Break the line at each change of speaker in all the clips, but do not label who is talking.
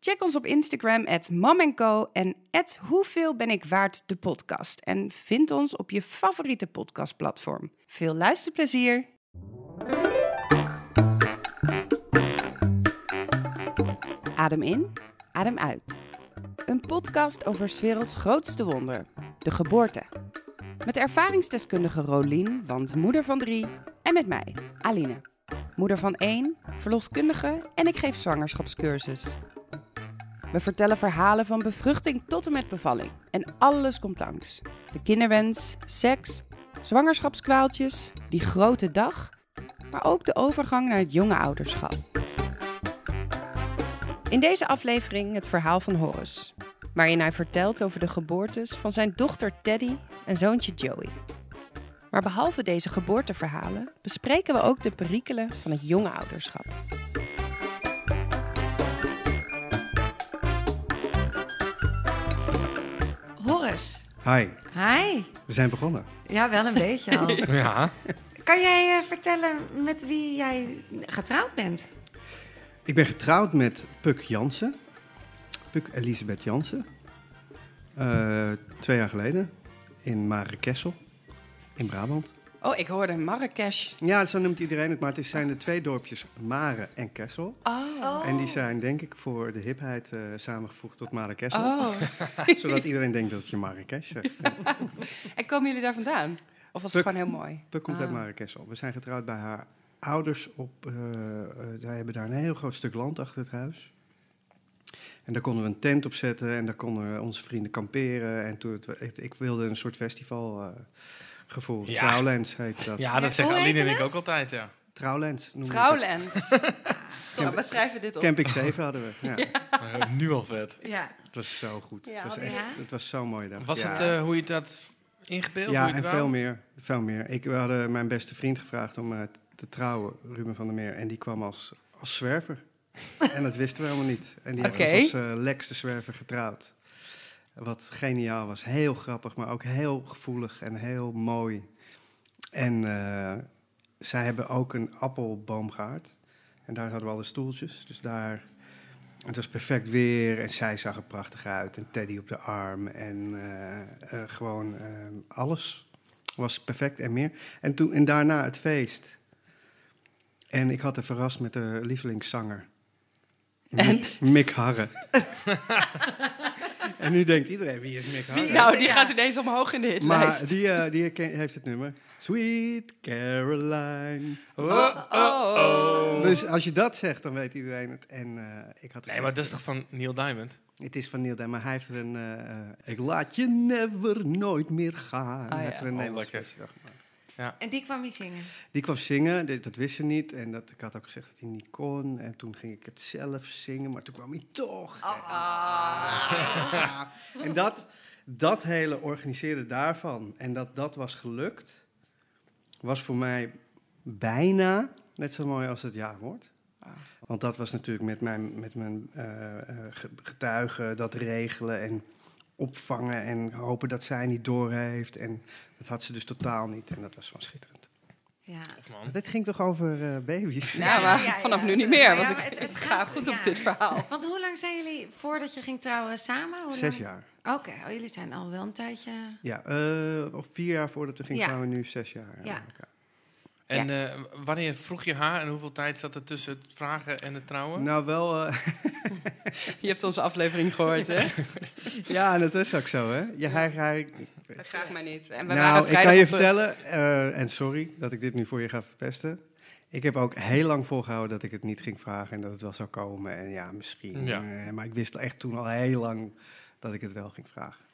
Check ons op Instagram at mamenco en at hoeveel ben ik waard de podcast. En vind ons op je favoriete podcastplatform. Veel luisterplezier! Adem in, adem uit. Een podcast over 's werelds grootste wonder, de geboorte. Met ervaringsdeskundige Rolien, want moeder van drie, en met mij, Aline. Moeder van één, verloskundige en ik geef zwangerschapscursus. We vertellen verhalen van bevruchting tot en met bevalling. En alles komt langs. De kinderwens, seks, zwangerschapskwaaltjes, die grote dag, maar ook de overgang naar het jonge ouderschap. In deze aflevering het verhaal van Horace, waarin hij vertelt over de geboortes van zijn dochter Teddy en zoontje Joey. Maar behalve deze geboorteverhalen bespreken we ook de perikelen van het jonge ouderschap. Horace,
Hi,
Hi.
we zijn begonnen.
Ja, wel een beetje al.
Ja,
Kan jij eh, vertellen met wie jij getrouwd bent?
Ik ben getrouwd met Puk Jansen. Puk Elisabeth Jansen. Eh, twee jaar geleden in Marekessel in Brabant.
Oh, ik hoorde Marrakesh.
Ja, zo noemt iedereen het, maar het is- zijn de twee dorpjes Mare en Kessel.
Oh.
En die zijn denk ik voor de hipheid eh, samengevoegd tot Mare Kessel.
oh.
Zodat iedereen denkt dat je Marrakesh zegt.
En komen jullie daar vandaan? Of was het
Puk.
gewoon heel mooi?
Puk komt uit
Ah.
Marekessel. We zijn getrouwd bij haar ouders op. eh eh, zij hebben daar een heel groot stuk land achter het huis. En daar konden we een tent op zetten en daar konden we onze vrienden kamperen. En toen het- ik, ik wilde een soort festival eh, gevoel.
Ja.
Trouwlands heet dat.
ja dat
Ja,
zeggen
hoe
Aline
heette
en ik
het?
ook altijd, ja.
Trouwlands noemde ik het.
Trouwlands. Top, we schrijven dit op.
Camping 7 hadden we. Ja,
Maar Eh, nu al vet.
Ja.
Het was zo goed.
Ja,
het, was
wat
echt,
leuk.
het was zo'n mooie dag.
Was
Ja.
het eh, hoe je het had ingebeeld? hoe
Ja,
je
en
het
veel
wou?
meer. Veel meer. Ik, we hadden mijn beste vriend gevraagd om eh, te trouwen, Ruben van der Meer. En die kwam als, als zwerver. en dat wisten we helemaal niet. En die
Oké.
heeft ons als eh, Lex de Zwerver getrouwd. Wat geniaal was. Heel grappig, maar ook heel gevoelig en heel mooi. En eh, zij hebben ook een appelboomgaard. En daar hadden we al de stoeltjes. Dus daar... Het was perfect weer en zij zag er prachtig uit. En Teddy op de arm en eh, eh, gewoon eh, alles was perfect en meer. En, toen, en daarna het feest. En ik had haar verrast met de lievelingszanger. Mick, Mick Harre. en nu denkt iedereen, wie is Mick Harre?
nou, die
Ja.
gaat ineens omhoog in de hitlijst.
Maar die, eh, die herken- heeft het nummer. Sweet Caroline.
Oh, oh, oh.
Dus als je dat zegt, dan weet iedereen het. En eh, ik had er
Nee, maar dat is toch van Neil Diamond?
Het is van Neil Diamond, maar hij heeft er een... eh, eh, ik laat je never nooit meer gaan.
ja.
Hij heeft er een
Oh,
Nederlands
lekker.
versie van gemaakt.
En die kwam je zingen.
Die kwam zingen, dit- dat wist ze niet. En dat, ik had ook gezegd dat hij niet kon. En toen ging ik het zelf zingen, maar toen kwam hij toch.
Oh.
Ah.
Ja. En dat, dat hele organiseren daarvan en dat dat was gelukt... was voor mij bijna net zo mooi als het ja-woord.
Ah.
Want dat was natuurlijk met mijn, met mijn eh, eh, ge- getuigen, dat regelen en opvangen en hopen dat zij niet door heeft. En dat had ze dus totaal niet en dat was wel schitterend.
Ja.
Of man?
Dit ging toch over eh, baby's?
Nou, maar
Ja, ja,
vanaf
ja,
nu niet
sorry.
meer,
Maar
want
ja,
ik,
het- het
ik ga
gaat,
goed
ja.
op dit verhaal.
Want hoe lang zijn jullie voordat je ging trouwen samen? Hoe lang-
Zes jaar.
Oké, oh, jullie zijn al wel een tijdje.
Ja, eh, of vier jaar voordat we gingen
Ja.
gaan we nu zes jaar. eh,
Ja.
met elkaar.
En eh, wanneer vroeg je haar en hoeveel tijd zat er tussen het vragen en het trouwen?
Nou, wel... eh,
Je hebt onze aflevering gehoord, hè?
ja, dat is ook zo, hè? Ja, hij, hij,
Vraag mij niet. En we
nou,
waren
ik kan
vrijdag
je
op de-
vertellen, eh, en sorry dat ik dit nu voor je ga verpesten. Ik heb ook heel lang volgehouden dat ik het niet ging vragen en dat het wel zou komen. En ja, misschien.
Ja.
eh, maar ik wist echt toen al heel lang dat ik het wel ging vragen.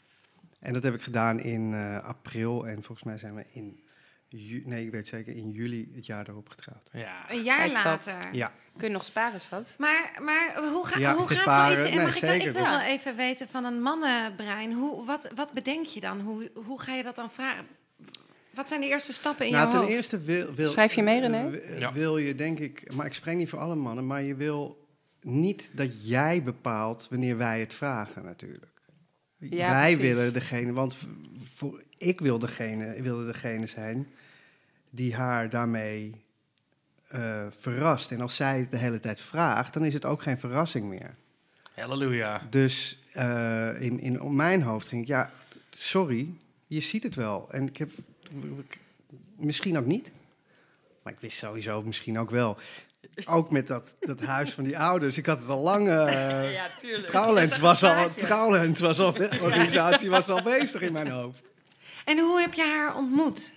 En dat heb ik gedaan in eh, april en volgens mij zijn we in ju- nee, ik weet zeker, in juli het jaar daarop getrouwd.
Ja.
Een jaar
Tijd zat.
later.
Ja,
Kun je nog sparen, schat?
Maar, maar hoe, ga,
Ja,
hoe gaat
sparen.
zoiets? En
Nee,
mag ik, dan, ik
zeker,
wil
dat-
wel even weten van een mannenbrein. Hoe, wat, wat bedenk je dan? Hoe, hoe ga je dat dan vragen? Wat zijn de eerste stappen in
nou,
jouw
ten
hoofd?
eerste wil, wil...
Schrijf je mee, René?
eh,
Ja.
Wil je, denk ik... Maar ik spreek niet voor alle mannen, maar je wil niet dat jij bepaalt wanneer wij het vragen, natuurlijk.
Ja,
wij
precies.
willen degene... Want v- voor, ik wil degene, wilde degene zijn die haar daarmee eh, verrast. En als zij het de hele tijd vraagt, dan is het ook geen verrassing meer.
Halleluja.
Dus eh, in, in mijn hoofd ging ik, ja, sorry, je ziet het wel. En ik heb, ik- misschien ook niet. Maar ik wist sowieso misschien ook wel. Ook met dat, dat huis van die ouders. Ik had het al lang... eh
Ja, tuurlijk.
Trouwlens was al, Trouwlens was al, de organisatie was al bezig in mijn hoofd.
En hoe heb je haar ontmoet?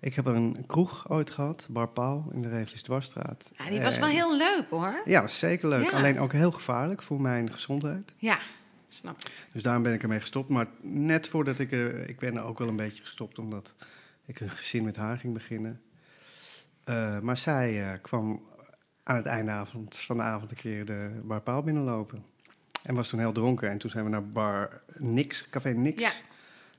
Ik heb een kroeg ooit gehad, Bar Pauw, in de Regels Dwarsstraat.
Ja, Nou, die was
En-
wel heel leuk hoor.
Ja, was zeker leuk.
Ja.
Alleen ook heel gevaarlijk voor mijn gezondheid.
Ja, snap ik.
Dus daarom ben ik ermee gestopt. Maar net voordat ik... eh, ik ben er ook wel een beetje gestopt omdat ik een gezin met haar ging beginnen. Eh, maar zij eh, kwam aan het einde avond, van de avond een keer de bar Paal binnenlopen. En was toen heel dronken. En toen zijn we naar bar Nix, Café Nix,
Ja.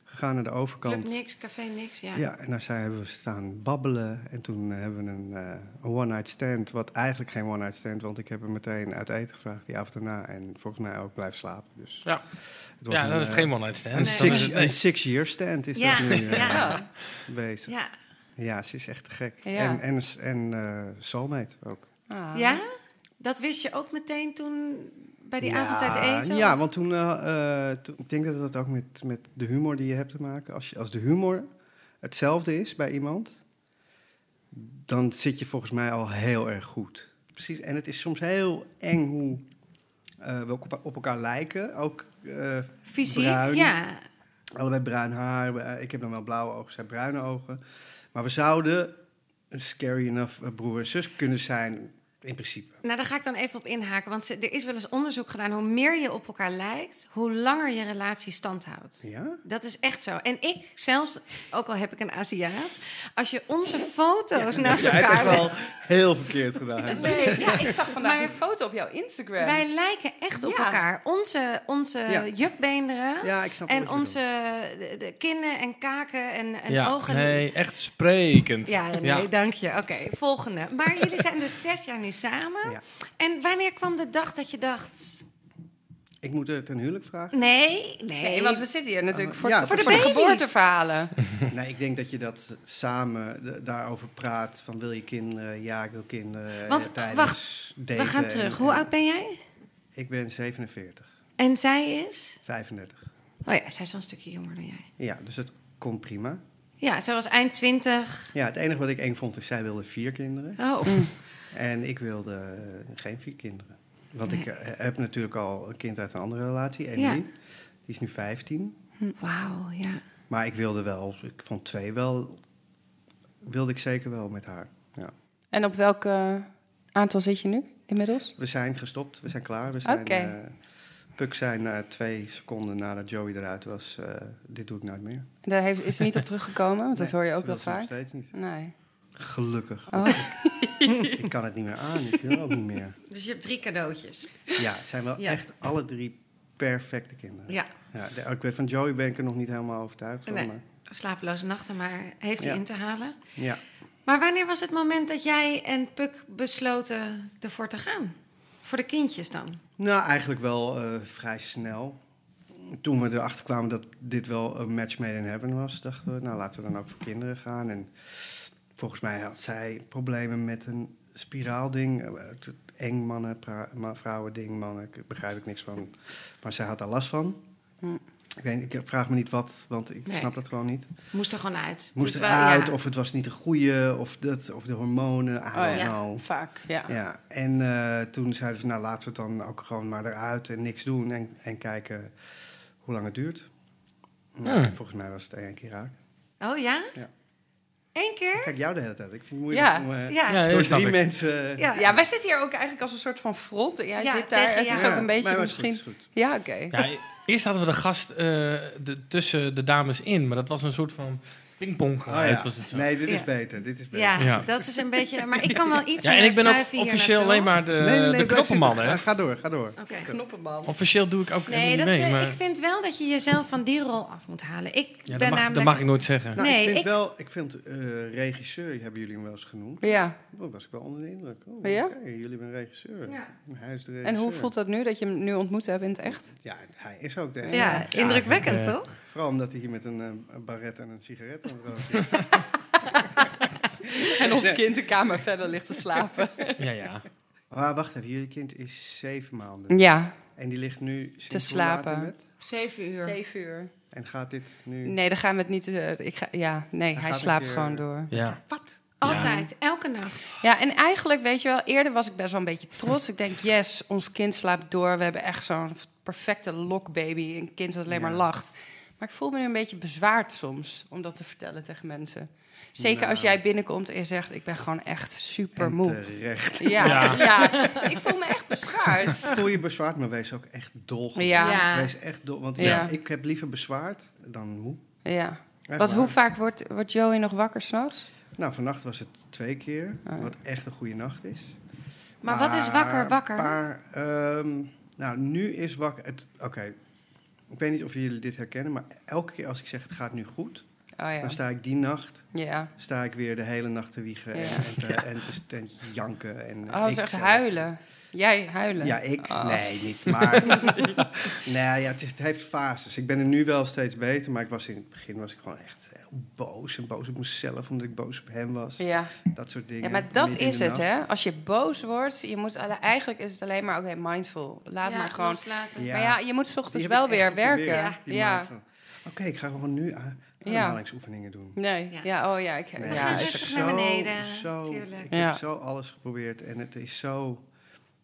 gegaan naar de overkant.
Club niks, café niks, ja.
Ja, en daar zijn, hebben we staan babbelen. En toen eh, hebben we een, eh, een one-night stand. Wat eigenlijk geen one-night stand, want ik heb hem meteen uit eten gevraagd die avond daarna. En volgens mij ook blijven slapen. Dus het
Ja.
was
Ja,
een,
dan is het
eh,
geen one-night stand.
Een
Dan
Nee.
is
six-
het- nee.
een six-year stand is
Ja,
dat nu eh,
ja.
bezig. Ja.
Ja.
ze is echt te gek.
Ja.
En, en, s- en eh, soulmate ook.
Ah.
ja? Dat wist je ook meteen toen bij die
Ja,
avond uit eten?
Ja,
Of-
want toen, eh, eh, toen- ik denk dat dat ook met, met de humor die je hebt te maken. Als, je, als de humor hetzelfde is bij iemand, dan zit je volgens mij al heel erg goed. Precies, en het is soms heel eng hoe eh, we ook op, op elkaar lijken. Ook eh,
Fysiek,
bruin.
ja.
Allebei bruin haar. Eh, Ik heb dan wel blauwe ogen, zij bruine ogen. Maar we zouden, scary enough, eh, broer en zus kunnen zijn, in principe.
Nou, daar ga ik dan even op inhaken. Want ze- er is wel eens onderzoek gedaan. Hoe meer je op elkaar lijkt, hoe langer je relatie standhoudt.
Ja?
Dat is echt zo. En ik zelfs, ook al heb ik een Aziat, als je onze foto's naast
Jij hebt
elkaar
echt wel heel verkeerd gedaan.
Nee, ja, ik zag vandaag
Maar-
een foto op jouw Instagram.
Wij lijken echt op
Ja.
elkaar. Onze, onze
Ja.
jukbeenderen
Ja, ik snap wel
en
wat je
onze de, de kinnen en kaken en, en
ja,
ogen.
Nee, echt sprekend.
Ja, nee, dank je. Oké, volgende. Maar jullie zijn dus zes jaar nu samen.
Ja.
En wanneer kwam de dag dat je dacht...
Ik moet het ten huwelijk vragen.
Nee, nee.
Nee, want we zitten hier natuurlijk voor,
Oh, Ja,
het-
voor
voor de,
de
baby's.
geboorteverhalen.
Nee, ik denk dat je dat samen eh, daarover praat. Van wil je kinderen? Ja, ik wil kinderen.
Want,
eh, tijdens
wacht,
daten
We gaan
en-
terug.
en-
Hoe oud ben jij?
Ik ben 47,
En zij is?
35.
Oh ja, zij is wel een stukje jonger dan jij.
Ja, dus dat komt prima.
Ja, zij was eind twintig.
Ja, het enige wat ik eng vond is zij wilde vier kinderen.
Oh,
En ik wilde eh, geen vier kinderen. Want ik
Nee.
eh, heb natuurlijk al een kind uit een andere relatie, Emily.
Ja.
Die is nu 15.
wauw, ja.
Maar ik wilde wel, ik vond twee wel, wilde ik zeker wel met haar. Ja.
En op welk eh, aantal zit je nu inmiddels?
We zijn gestopt, we zijn klaar. We zijn,
Oké.
eh, Puk zei na twee seconden nadat Joey eruit was, eh, dit doe ik nooit meer.
Daar heeft, is ze niet op teruggekomen, want dat
Nee,
hoor je
ze
ook wel
wil ze nog
vaak.
steeds niet.
Nee.
Gelukkig.
Oh.
Ik kan het niet meer aan, ik wil ook niet meer.
Dus je hebt drie cadeautjes.
Ja, het zijn wel
Ja.
echt alle drie perfecte kinderen.
Ja,
Ja, de- ik weet van Joey ben ik er nog niet helemaal overtuigd van.
Nee.
Maar,
slapeloze nachten, maar heeft hij
Ja.
in te halen.
ja.
Maar wanneer was het moment dat jij en Puk besloten ervoor te gaan? Voor de kindjes dan?
Nou, eigenlijk wel eh, vrij snel. Toen we erachter kwamen dat dit wel een match made in heaven was, dachten we, nou laten we dan ook voor kinderen gaan. En volgens mij had zij problemen met een spiraalding. Eh, het Eng mannen, pra- ma- vrouwen ding, mannen, ik- begrijp ik niks van. Maar zij had daar last van.
Hm.
Ik, weet, ik vraag me niet wat, want ik
Nee.
snap dat gewoon niet.
Moest er gewoon uit.
Moest
Dit wel-
eruit,
ja. Oh,
of het was niet de goede, of, dat, of de hormonen, I don't
ja.
know.
Vaak, ja.
Ja, en eh, toen zeiden ze, nou laten we het dan ook gewoon maar eruit en niks doen en, en kijken hoe lang het duurt. Nou,
Hmm.
Volgens mij was het één keer raak.
Oh ja?
Ja.
Eén keer?
Kijk jou de hele tijd. Ik vind het moeilijk
Ja,
om eh,
Ja.
Ja,
door
dat snap
drie
ik.
mensen...
Ja.
Ja, wij zitten hier ook eigenlijk als een soort van front. Jij
Ja,
zit daar.
tegen
Het is
Ja,
ook een beetje
maar het is goed,
misschien.
het is goed.
Ja, oké.
Ja, eerst hadden we de gast eh, de, tussen de dames in, maar dat was een soort van Pingpong
Oh,
geluid
ja.
was het zo. Eh,
Nee, dit is
Ja.
beter. Dit is beter.
Ja,
Ja.
dat is een beetje... Maar ik kan wel iets
Ja, en
meer
ik ben ook
schuiven hier
officieel
naartoe.
alleen maar de,
nee, nee,
de
blijf
knoppenman,
zitten.
hè?
Ga, ga door, ga door.
Oké.
Knoppenman.
Officieel doe ik ook
Nee,
helemaal
dat
niet
vind-
mee, maar...
ik vind wel dat je jezelf van die rol af moet halen. Ik
Ja, dat,
ben
mag, dat
namelijk...
mag ik nooit zeggen.
Nou,
Nee,
ik vind
ik-
wel, ik vind eh, regisseur, hebben jullie hem wel eens genoemd.
Ja,
Daar was ik wel onder de indruk. Oh,
Ja?
oké, jullie zijn regisseur.
Ja.
Hij is de regisseur.
en hoe voelt dat nu dat je hem nu ontmoet hebt in het echt?
Ja, hij is ook deze.
Ja,
Ja.
indrukwekkend,
Ja.
toch?
Vooral omdat hij hier met een, eh, een baret en een sigaret aan het roken is.
En ons kind de kamer verder ligt te slapen.
Ja, ja.
Ah, wacht even, jullie kind is zeven maanden.
Ja,
En die ligt nu sinds
Te
hoe laat in
slapen.
bed?
Zeven
zeven uur.
En gaat dit nu...
Nee, dan gaan we het niet. eh, ik ga, ja, nee,
Hij
hij
gaat
slaapt
een keer-
gewoon door.
ja.
Altijd, elke nacht.
Ja, en eigenlijk weet je wel, eerder was ik best wel een beetje trots. Ik denk, yes, ons kind slaapt door. We hebben echt zo'n perfecte lokbaby. Een kind dat alleen maar
Ja.
lacht. Maar ik voel me nu een beetje bezwaard soms om dat te vertellen tegen mensen. Zeker als
Nou.
jij binnenkomt en je zegt, ik ben gewoon echt super
En
moe.
terecht.
Ja,
Ja.
ja. ik voel me echt bezwaard.
Voel je bezwaard, maar wees ook echt dol.
Ja.
Ja.
Wees echt dol. Want
Ja.
ik heb liever bezwaard dan moe.
Ja.
Echt
Wat,
waar.
hoe vaak wordt, wordt Joey nog wakker s'nachts?
Nou, vannacht was het twee keer.
Ah, ja.
Wat echt een goede nacht is.
Maar wat is wakker, wakker?
Maar, ehm, nou, nu is wakker... het- Oké, ik weet niet of jullie dit herkennen, maar elke keer als ik zeg het gaat nu goed,
Oh ja.
dan sta ik die nacht
Ja.
sta ik weer de hele nacht te wiegen
Ja.
en, en, te, en, te, en te janken. En
Oh, dat is
ik
echt
zelf.
huilen. Jij huilen.
Ja, ik?
Oh.
Nee, niet. Maar nou ja, het, is- het heeft fases. Ik ben er nu wel steeds beter, maar ik was in het begin was ik gewoon echt heel boos. En boos op mezelf, omdat ik boos op hem was.
Ja.
Dat soort dingen.
Ja, maar dat
Midden in
is
de
het,
nacht.
hè? Als je boos wordt, je moet alle, eigenlijk is het alleen maar, oké, mindful. Laat
Ja,
maar gewoon.
los laten.
Ja.
Maar ja, je moet 's ochtends
Die
wel
heb ik echt
weer werken.
geprobeerd, die
ja.
mindful. Oké, ik ga gewoon nu a- ademhalingsoefeningen doen.
Nee,
Ja.
ja. oh ja, ik,
Nee,
ja,
gaan
het is
ik-
rustig
zo-
naar beneden,
Zo,
tuurlijk.
ik
Ja.
heb zo alles geprobeerd en het is zo...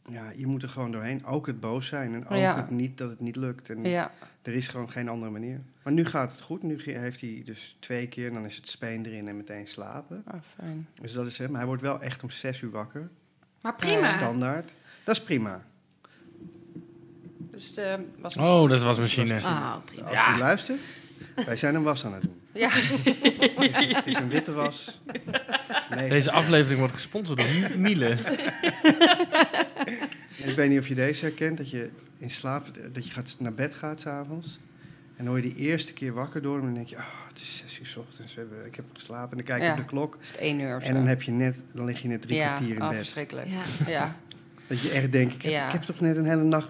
Ja, je moet er gewoon doorheen. Ook het boos zijn en ook
Ja.
het niet dat het niet lukt. En
ja.
Er is gewoon geen andere manier. Maar nu gaat het goed. Nu ge- heeft hij dus twee keer en dan is het speen erin en meteen slapen.
Oh, fijn.
Dus dat is hem. Hij wordt wel echt om zes uur wakker.
Maar prima.
Standaard. Dat is prima.
Dus de was
Oh, dat was machine.
Oh, prima.
Als u luistert, wij zijn een was aan het doen.
Ja.
Het is, het is een witte was. Nee,
Deze aflevering wordt gesponsord door Mi- Miele.
Ik weet niet of je deze herkent, dat je in slaap, dat je gaat, naar bed gaat s'avonds. En dan word je de eerste keer wakker door hem en dan denk je, ah, het is zes uur 's ochtends, we hebben, ik heb geslapen. En dan kijk je
Ja.
op de klok
is het één uur of
en
zo.
dan, heb je net, dan lig je net drie
ja,
kwartier in
oh,
bed.
verschrikkelijk. Ja.
Ja.
Dat je echt denkt, ik heb,
Ja.
ik heb toch net een hele nacht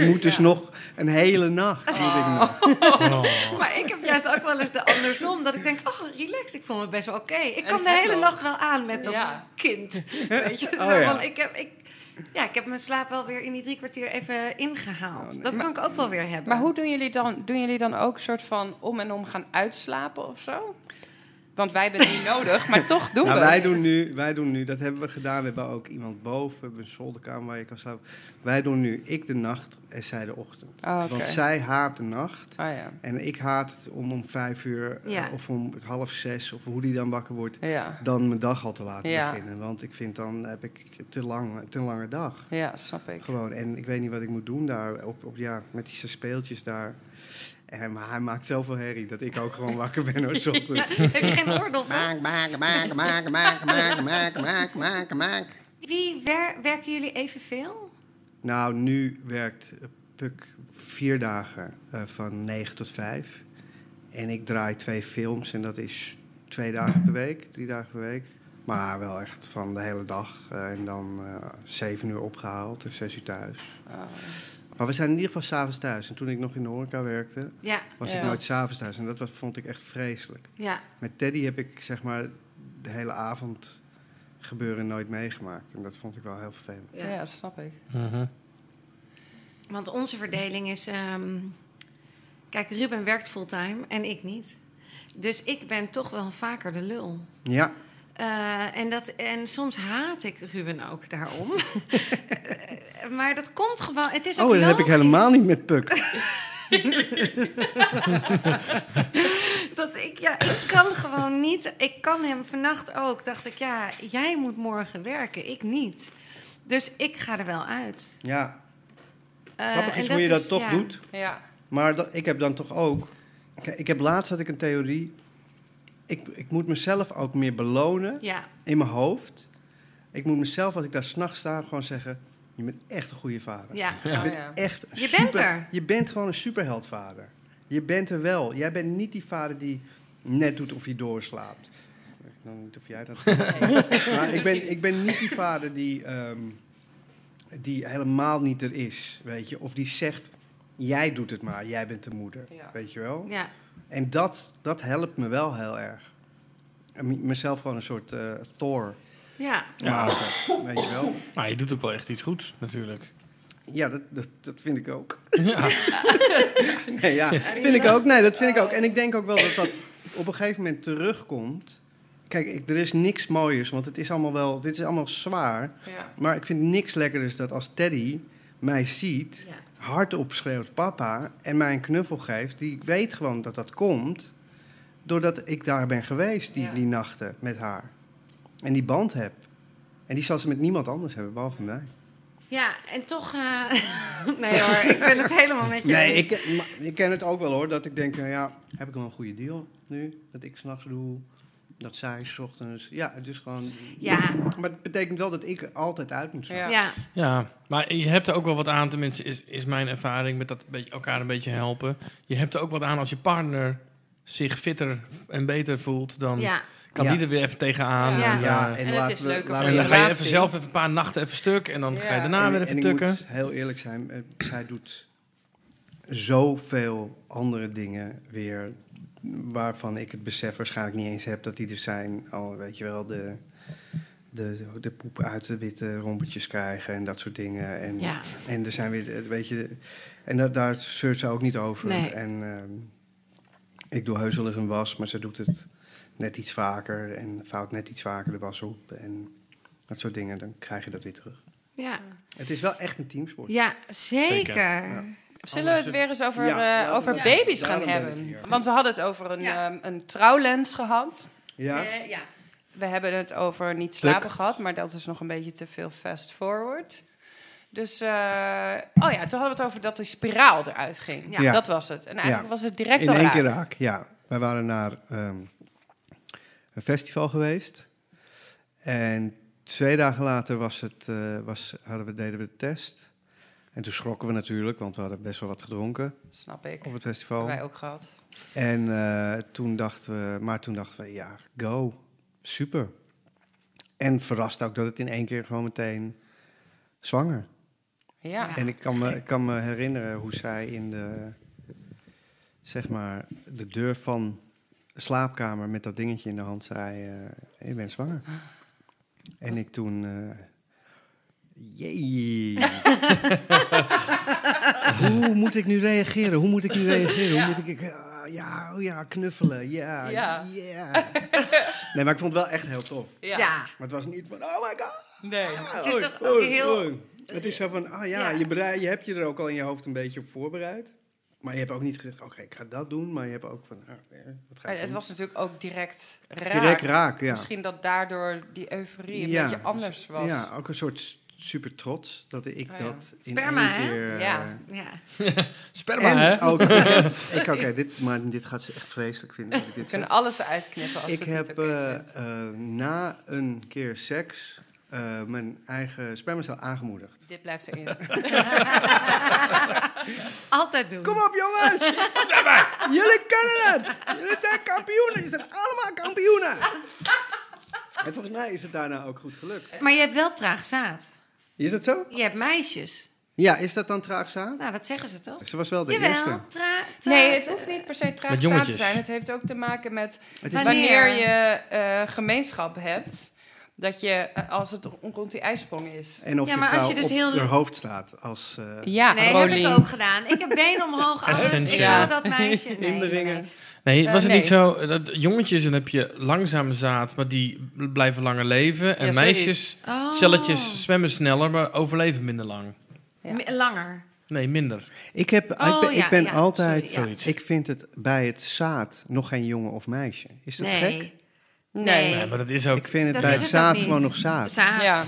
Ik moet dus nog een hele nacht. moet ik nog.
Oh.
Maar ik heb juist ook wel eens de andersom. Dat ik denk, oh, relaxed, ik voel me best wel oké. Ik
En
kan de
het
hele
loopt.
nacht wel aan met dat
Ja.
kind. Weet je,
Oh,
zo,
ja.
want ik heb... Ik, ja, ik heb mijn slaap wel weer in die drie kwartier even ingehaald.
Oh, nee.
Dat kan ik ook wel weer hebben.
Maar hoe doen jullie dan? Doen jullie dan ook soort van om en om gaan uitslapen of zo? Want wij hebben het niet nodig, maar toch doen
Nou,
we.
wij,
het.
doen nu, wij doen nu, dat hebben we gedaan. We hebben ook iemand boven, we hebben een zolderkamer waar je kan slapen. Wij doen nu ik de nacht en zij de ochtend.
Oh, oké.
Want zij haat de nacht.
Oh ja.
En ik haat het om om vijf uur eh,
Ja.
of om half zes of hoe die dan wakker wordt.
Ja.
Dan mijn dag al te laten
Ja.
beginnen. Want ik vind dan heb ik te lang, te lange dag.
Ja, snap ik.
Gewoon, en ik weet niet wat ik moet doen daar, op, op, ja, met die zijn speeltjes daar. En, maar hij maakt zoveel herrie dat ik ook gewoon wakker ben hoor, 's ochtends.
heb je geen oordeel van?
Maak, maak, maak, maak, maak, maak, maak, maak, maak, maak.
Wie wer- werken jullie evenveel?
Nou, nu werkt eh, Puk vier dagen eh, van negen tot vijf. En ik draai twee films en dat is twee dagen per week, drie dagen per week. Maar wel echt van de hele dag. eh, en dan eh, zeven uur opgehaald en zes uur thuis.
Oh.
Maar we zijn in ieder geval s'avonds thuis. En toen ik nog in de horeca werkte,
Ja,
was
Ja.
ik nooit s'avonds thuis. En dat was, vond ik echt vreselijk.
ja.
Met Teddy heb ik zeg maar de hele avond gebeuren nooit meegemaakt. En dat vond ik wel heel vervelend.
Ja, dat snap ik.
Mhm.
Want onze verdeling is. ehm, kijk, Ruben werkt fulltime en ik niet. Dus ik ben toch wel vaker de lul.
Ja,
Eh, en, dat, en soms haat ik Ruben ook daarom. Eh, maar dat komt gewoon. Het is ook
oh, dat heb ik
logisch.
helemaal niet met Puk.
Dat ik, ja, ik kan gewoon niet. Ik kan hem vannacht ook. Dacht ik, ja, jij moet morgen werken, ik niet. Dus ik ga er wel uit.
Ja,
Eh,
grappig
en
is hoe je dat toch
ja.
doet.
Ja.
Maar dat, ik heb dan toch ook... Kijk, ik heb laatst had ik een theorie ik, ik moet mezelf ook meer belonen
Ja,
in mijn hoofd. Ik moet mezelf, als ik daar s'nachts sta, gewoon zeggen... Je bent echt een goede vader.
ja.
Je
Oh,
bent
ja.
echt een
Je bent
super-
er.
Je bent gewoon een superheldvader. Je bent er wel. Jij bent niet die vader die net doet of hij doorslaapt. Ik weet nou niet of jij dat... maar ik ben, ik ben niet die vader die, ehm, die helemaal niet er is, weet je. Of die zegt, jij doet het maar, jij bent de moeder,
Ja.
weet je wel.
ja.
En dat, dat helpt me wel heel erg. En m- mezelf gewoon een soort eh, Thor
ja.
Ja.
maken, weet je wel.
Maar je doet ook wel echt iets goeds, natuurlijk.
Ja, dat, dat, dat vind ik ook.
Ja.
Nee, ja, vind ik ook. Nee, dat vind ik ook. En ik denk ook wel dat dat op een gegeven moment terugkomt. Kijk, ik, er is niks mooiers, want het is allemaal wel, dit is allemaal zwaar.
Ja.
Maar ik vind niks lekkerders dat als Teddy mij ziet,
Ja.
hardop schreeuwt papa en mij een knuffel geeft. Die ik weet gewoon dat dat komt, doordat ik daar ben geweest die,
Ja.
die nachten met haar. En die band heb. En die zal ze met niemand anders hebben, behalve mij.
Ja, en toch... eh, nee hoor, ik ben het helemaal met je
Nee,
eens.
ik, maar ik ken het ook wel hoor. Dat ik denk, nou ja, heb ik wel een goede deal nu? Dat ik s'nachts doe, dat zij 's ochtends. Ja, het is gewoon...
Ja,
Maar het betekent wel dat ik er altijd uit moet zijn.
Ja.
ja.
Ja, maar je hebt er ook wel wat aan, tenminste is, is mijn ervaring met dat beetje, elkaar een beetje helpen. Je hebt er ook wat aan als je partner zich fitter en beter voelt, dan
ja.
kan die
Ja.
er weer even tegenaan.
Ja.
En, eh,
Ja, en het
laten
is
we-
leuker
laten
En
voor
dan
je
we-
ga je even
relatie.
zelf even een paar nachten even stuk en dan ga je
Ja.
daarna
en-
weer
en
even
ik
tukken.
moet heel eerlijk zijn, eh, zij doet zoveel andere dingen weer... waarvan ik het besef waarschijnlijk niet eens heb dat die er zijn. Al weet je wel, de, de, de poep uit de witte rompetjes krijgen en dat soort dingen. En
ja.
En er zijn weer, eh, weet je, en da- daar zeurt ze ook niet over.
Nee.
En ehm, ik doe heus wel eens een was, maar ze doet het net iets vaker en vouwt net iets vaker de was op en dat soort dingen. Dan krijg je dat weer terug.
Ja,
Het is wel echt een teamsport.
ja zeker.
Zeker,
Zullen we het weer eens over,
eh, Ja,
eh,
laten
over
we-
baby's
daarom
gaan
ben ik
hebben?
hier.
Want we hadden het over een,
Ja.
ehm, een trouwlens gehad.
Ja,
Eh, ja.
We hebben het over niet
Stuk.
slapen gehad, maar dat is nog een beetje te veel fast forward. Dus, eh, oh ja, toen hadden we het over dat die spiraal eruit ging.
Ja.
Ja.
Dat was het. En eigenlijk
Ja.
was het direct
in
al
één
raak.
keer raak. Ja, wij waren naar ehm, een festival geweest en twee dagen later was het, eh, was, hadden we, deden we de test. En toen schrokken we natuurlijk, want we hadden best wel wat gedronken
Snap ik.
op het
Hebben
festival.
wij ook gehad.
En eh, toen dachten we, maar toen dachten we, ja, go, super. En verrast ook dat het in één keer gewoon meteen zwanger.
Ja.
Ja.
en ik kan, me, ik kan me herinneren hoe zij in de, zeg maar, de deur van de slaapkamer met dat dingetje in de hand zei, eh je bent zwanger. En ik toen, eh, jee. hoe moet ik nu reageren? Hoe moet ik nu reageren? Hoe moet ik, ah, ja, oh ja, knuffelen, ja,
Ja.
ja. nee, maar ik vond het wel echt heel tof.
Ja.
Maar het was niet van, oh my god.
Nee.
Het is toch ook heel-
Het is zo van, ah ja,
Ja.
Je, berei- je hebt je er ook al in je hoofd een beetje op voorbereid. Maar je hebt ook niet gezegd, oké, ik ga dat doen. Maar je hebt ook van, ah, eh, wat ga
Maar
ik
het
doen?
was natuurlijk ook direct raak.
Direct raak, ja.
Misschien dat daardoor die euforie een
Ja,
beetje anders was.
Ja, ook een soort s- super trots dat ik
Ah, ja.
dat in
Sperma,
één
hè?
keer... eh,
Ja.
Ja.
Sperma, hè?
En ook, ik, oké, dit, maar dit gaat ze echt vreselijk vinden. dat ik
We
dit
kunnen
zeg.
alles uitknippen als
Ik
het niet
heb
oké
eh,
vindt.
eh, na een keer seks eh, mijn eigen spermacel aangemoedigd.
Dit blijft erin.
Altijd doen.
Kom op jongens! Jullie kunnen het! Jullie zijn kampioenen! Jullie zijn allemaal kampioenen! En volgens mij is het daarna ook goed gelukt.
Maar je hebt wel traag zaad.
Is dat zo?
Je hebt meisjes.
Ja, is dat dan traag zaad?
Nou, dat zeggen ze toch?
Ze was wel de eerste.
Jawel, tra- tra-
Nee, het hoeft niet per se traag zaad
Met
te
jongetjes.
zijn. Het heeft ook te maken met
Het is-
wanneer
Wanneer?
je eh, gemeenschap hebt. Dat je, eh, als het rond die ijsprong is.
En of
Ja,
je
maar als
vrouw
je dus
op
heel-
haar hoofd staat als... eh,
Ja,
Nee, heb ik ook gedaan. Ik heb been omhoog, alles. Ik
Essentieel.
wou dat meisje. Nee,
In de ringen.
nee.
Nee,
Eh,
was het
nee.
niet zo? eh, Dat jongetjes, dan heb je langzame zaad, maar die bl- blijven langer leven. En
Ja, zoiets.
meisjes,
Oh.
celletjes zwemmen sneller, maar overleven minder lang.
Ja.
M- Langer.
Nee, minder.
Ik, heb, ik
Oh,
ben,
ja,
ik ben
ja,
altijd...
sorry,
ja.
Ik vind het bij het zaad nog geen jongen of meisje. Is dat gek?
Nee.
Nee.
Nee.
Nee, maar dat is ook...
Ik vind het
Dat
bij
is
het
het ook
zaad
niet.
gewoon nog zaad.
Zaad.
Ja,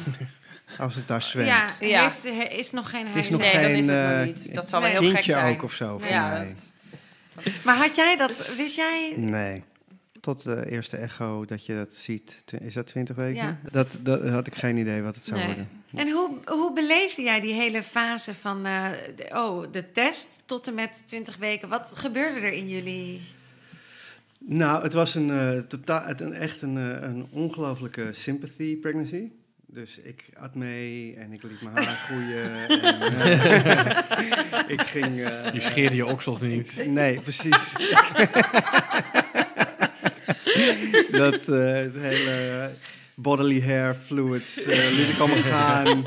Als het daar zwemt.
Ja,
Ja.
Heeft, he- is nog geen
is
huis.
nog
nee, dan is het
geen,
nog
eh,
niet. Dat zal wel heel gek
Kindje
zijn.
ook of zo voor
ja,
mij.
dat-
Maar had jij dat, wist jij
Nee. tot de eerste echo dat je dat ziet. Tw- Is dat 20 weken?
Ja.
Dat, dat had ik geen idee wat het zou
Nee.
worden.
En hoe, hoe beleefde jij die hele fase van eh, de- oh, de test tot en met 20 weken? Wat gebeurde er in jullie?
Nou, het was een, eh, totaal, het, een, echt een, eh, een ongelofelijke sympathy pregnancy. Dus ik at mee en ik liet mijn haar groeien. en, eh, ik ging... eh,
Je scheerde je oksels niet.
Nee, precies. dat eh, het hele bodily hair fluids eh liet ik allemaal gaan.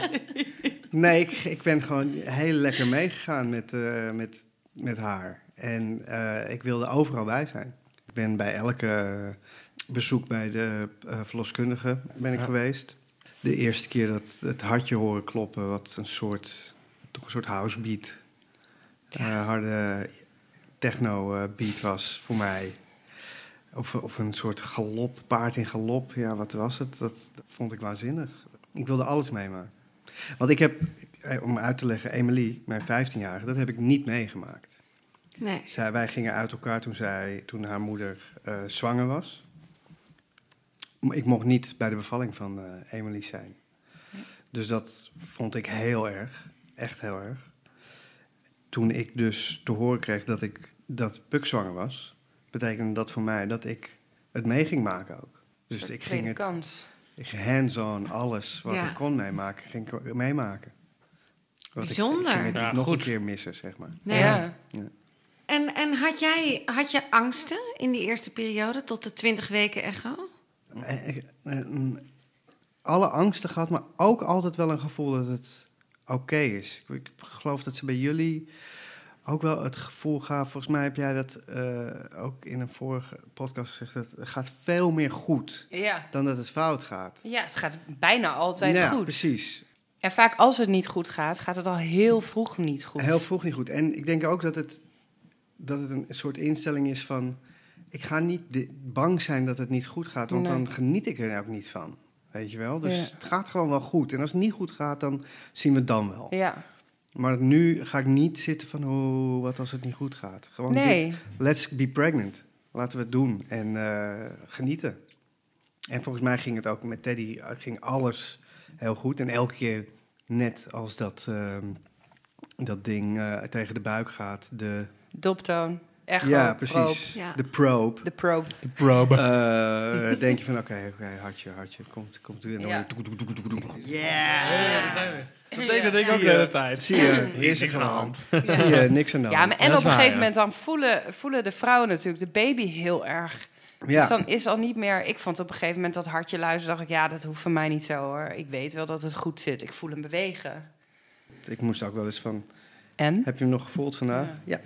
Nee, ik, ik ben gewoon heel lekker meegegaan met, eh, met, met haar. En eh, ik wilde overal bij zijn. Ik ben bij elke bezoek bij de eh, verloskundige ben ik
Ja.
geweest. De eerste keer dat het hartje horen kloppen, wat een soort, toch een soort housebeat, eh, harde techno eh, beat was voor mij. Of, of een soort galop, paard in galop. Ja, wat was het? Dat, dat vond ik waanzinnig. Ik wilde alles meemaken. Want ik heb, eh, om uit te leggen, Emily, mijn 15-jarige, dat heb ik niet meegemaakt.
Nee.
Zij, wij gingen uit elkaar toen, zij, toen haar moeder eh, zwanger was. Maar Ik mocht niet bij de bevalling van eh, Emily zijn. Dus dat vond ik heel erg. Echt heel erg. Toen ik dus te horen kreeg dat, ik, dat Puk zwanger was, betekende dat voor mij dat ik het mee ging maken ook. Dus ik ging
Tweede
het
kans.
ik ging hands-on, alles wat
Ja.
ik kon meemaken, ging ik meemaken. Want ik-
Bijzonder.
Ik, ging het
Ja,
niet nog
goed.
een keer missen, zeg maar.
Nee.
Ja.
En, en had, jij, had je angsten in die eerste periode tot de 20 weken echo?
Eh, eh, eh, mm, alle angsten gehad, maar ook altijd wel een gevoel dat het oké is. Ik, ik geloof dat ze bij jullie ook wel het gevoel gaven. Volgens mij heb jij dat eh, ook in een vorige podcast gezegd. Dat het gaat veel meer goed
Ja.
dan dat het fout gaat.
ja, het gaat bijna altijd
ja,
goed.
precies.
En vaak als het niet goed gaat, gaat het al heel vroeg niet goed.
Heel vroeg niet goed. En ik denk ook dat het, dat het een soort instelling is van... ik ga niet di- bang zijn dat het niet goed gaat, want
Nee.
dan geniet ik er ook niet van. Weet je wel? Dus
Ja.
het gaat gewoon wel goed. En als het niet goed gaat, dan zien we het dan wel.
Ja.
Maar nu ga ik niet zitten van, oh, wat als het niet goed gaat? Gewoon dit,
Nee.
let's be pregnant. Laten we het doen en eh, genieten. En volgens mij ging het ook met Teddy, eh, ging alles heel goed. En elke keer, net als dat, ehm, dat ding eh, tegen de buik gaat, de...
Doptoon. Echo.
ja,
probe.
precies.
Ja.
De probe.
De probe.
De probe.
Eh, denk je van, oké, oké, hartje, hartje, komt, komt. En dan
Ja.
hoor je-
Ja,
Yeah!
daar zijn we. Dat deed
Ja.
ik ook de hele tijd.
Zie je,
Hier
is
niks
niks
aan de
hand. Zie je, niks aan de hand.
Ja, maar en op een
Nou, Dat is waar,
gegeven
ja.
moment dan voelen, voelen de vrouwen natuurlijk de baby heel erg.
Ja.
Dus dan is al niet meer... Ik vond op een gegeven moment dat hartje luisteren, dacht ik... Ja, dat hoeft van mij niet zo hoor. Ik weet wel dat het goed zit. Ik voel hem bewegen.
Ik moest ook wel eens van,
En?
Heb je hem nog gevoeld vandaag? Ja.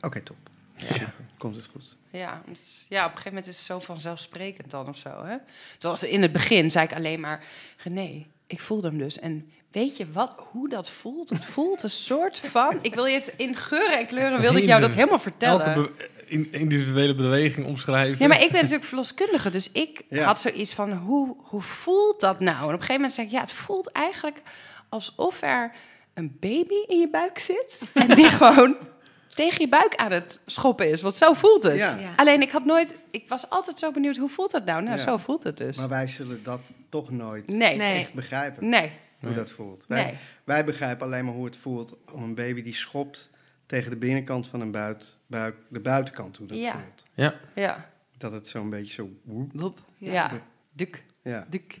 Oké, top. Super. Komt het goed.
Ja, het is- ja, op een gegeven moment is het zo vanzelfsprekend dan of zo. Hè? Zoals in het begin zei ik alleen maar... René, ik voelde hem dus. En weet je wat, hoe dat voelt? Het voelt een soort van... Ik wil je het in geuren en kleuren... wilde ik jou dat helemaal vertellen.
Elke be- in- individuele beweging omschrijven.
Ja, maar ik ben natuurlijk verloskundige, dus ik
Ja.
had zoiets van, hoe, hoe voelt dat nou? En op een gegeven moment zei ik, ja, het voelt eigenlijk alsof er een baby in je buik zit. En die gewoon tegen je buik aan het schoppen is, want zo voelt het.
Ja.
Ja.
Alleen ik had nooit, ik was altijd zo benieuwd, hoe voelt dat nou? Nou,
Ja.
zo voelt het dus.
Maar wij zullen dat toch nooit
Nee, nee,
Nee.
echt begrijpen.
nee.
Hoe dat voelt. Wij, wij begrijpen alleen maar hoe het voelt om een baby die schopt tegen de binnenkant van een buit, buik, de buitenkant. Hoe dat
Ja.
voelt.
Ja.
Ja,
Dat het zo'n beetje zo...
Wop.
Ja.
ja. Duk,
Ja.
duk.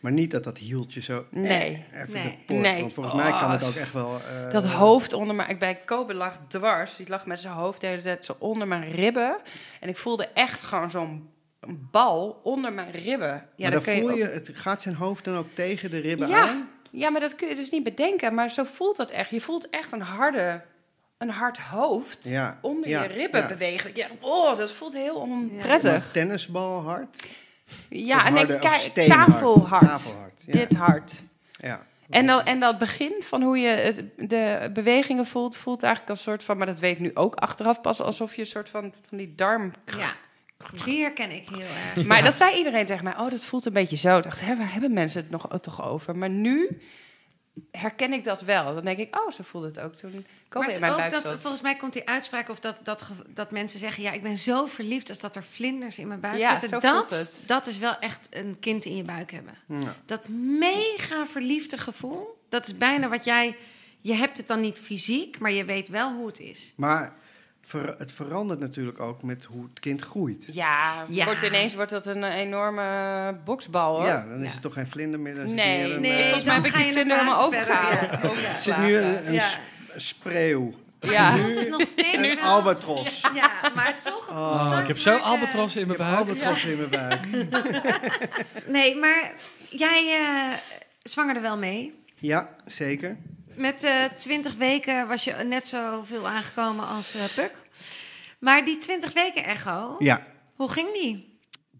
Maar niet dat dat hieltje zo eh,
Nee.
even
Nee.
de poort.
Nee.
Want volgens mij kan
Oh,
het ook echt wel... eh,
Dat hoofd onder mijn... Ik bij Kobe lag dwars. Die lag met zijn hoofd de hele tijd zo onder mijn ribben. En ik voelde echt gewoon zo'n bal onder mijn ribben. Ja,
maar dan
dat kun
voel
ook-
je, het gaat zijn hoofd dan ook tegen de ribben
ja,
aan?
ja, maar dat kun je dus niet bedenken. Maar zo voelt dat echt. Je voelt echt een harde... Een hard hoofd
Ja,
onder
ja,
je ribben
ja.
bewegen. Ja, oh, dat voelt heel onprettig.
Maar tennisbal hard?
Ja,
Of
en
harder-
ik
of
kijk
steenhard?
tafelhard.
Tafelhard, ja.
Dit hard.
Ja.
En, dan, en dat begin van hoe je het- de bewegingen voelt, voelt eigenlijk als soort van, maar dat weet ik nu ook achteraf pas, alsof je een soort van, van die darm.
Ja, die herken ik heel erg.
Maar dat zei iedereen tegen mij, oh, dat voelt een beetje zo. Ik dacht, hè, waar hebben mensen het nog, toch over? Maar nu herken ik dat wel. Dan denk ik, oh, ze voelde het ook toen Kobe
maar
in
het
mijn
is ook
buik
dat,
zat.
volgens mij komt die uitspraak of dat, dat, ge- dat mensen zeggen: Ja, ik ben zo verliefd als dat er vlinders in mijn buik
Ja,
zitten.
zo
dat,
voelt het.
dat is wel echt een kind in je buik hebben.
Ja.
Dat mega verliefde gevoel, dat is bijna wat jij. Je hebt het dan niet fysiek, maar je weet wel hoe het is.
Maar ver- het verandert natuurlijk ook met hoe het kind groeit.
Ja,
Ja.
Wordt ineens wordt dat een eh, enorme boksbal, hoor.
Ja, dan is
Ja.
het toch geen vlinder meer. Dan is het meer
Nee,
een,
nee,
eh,
volgens mij heb
dan
ik
ga
die
je
vlinder
een
helemaal
fase verder,
overgehaald.
er zit nu eh, een, een
Ja.
sp- spreeuw.
Ja.
Voelt het nog steeds?
Een
wel?
albatros.
Ja, maar toch. het
Oh,
Oh,
contact
ik heb zo
maken-
albatros in
Ik heb
mijn
een
buik.
albatros in mijn buik.
Nee, maar jij eh, zwangerde wel mee.
Ja, zeker.
Met eh, twintig weken was je net zoveel aangekomen als eh, Puk. Maar die 20 weken echo,
Ja,
hoe ging die?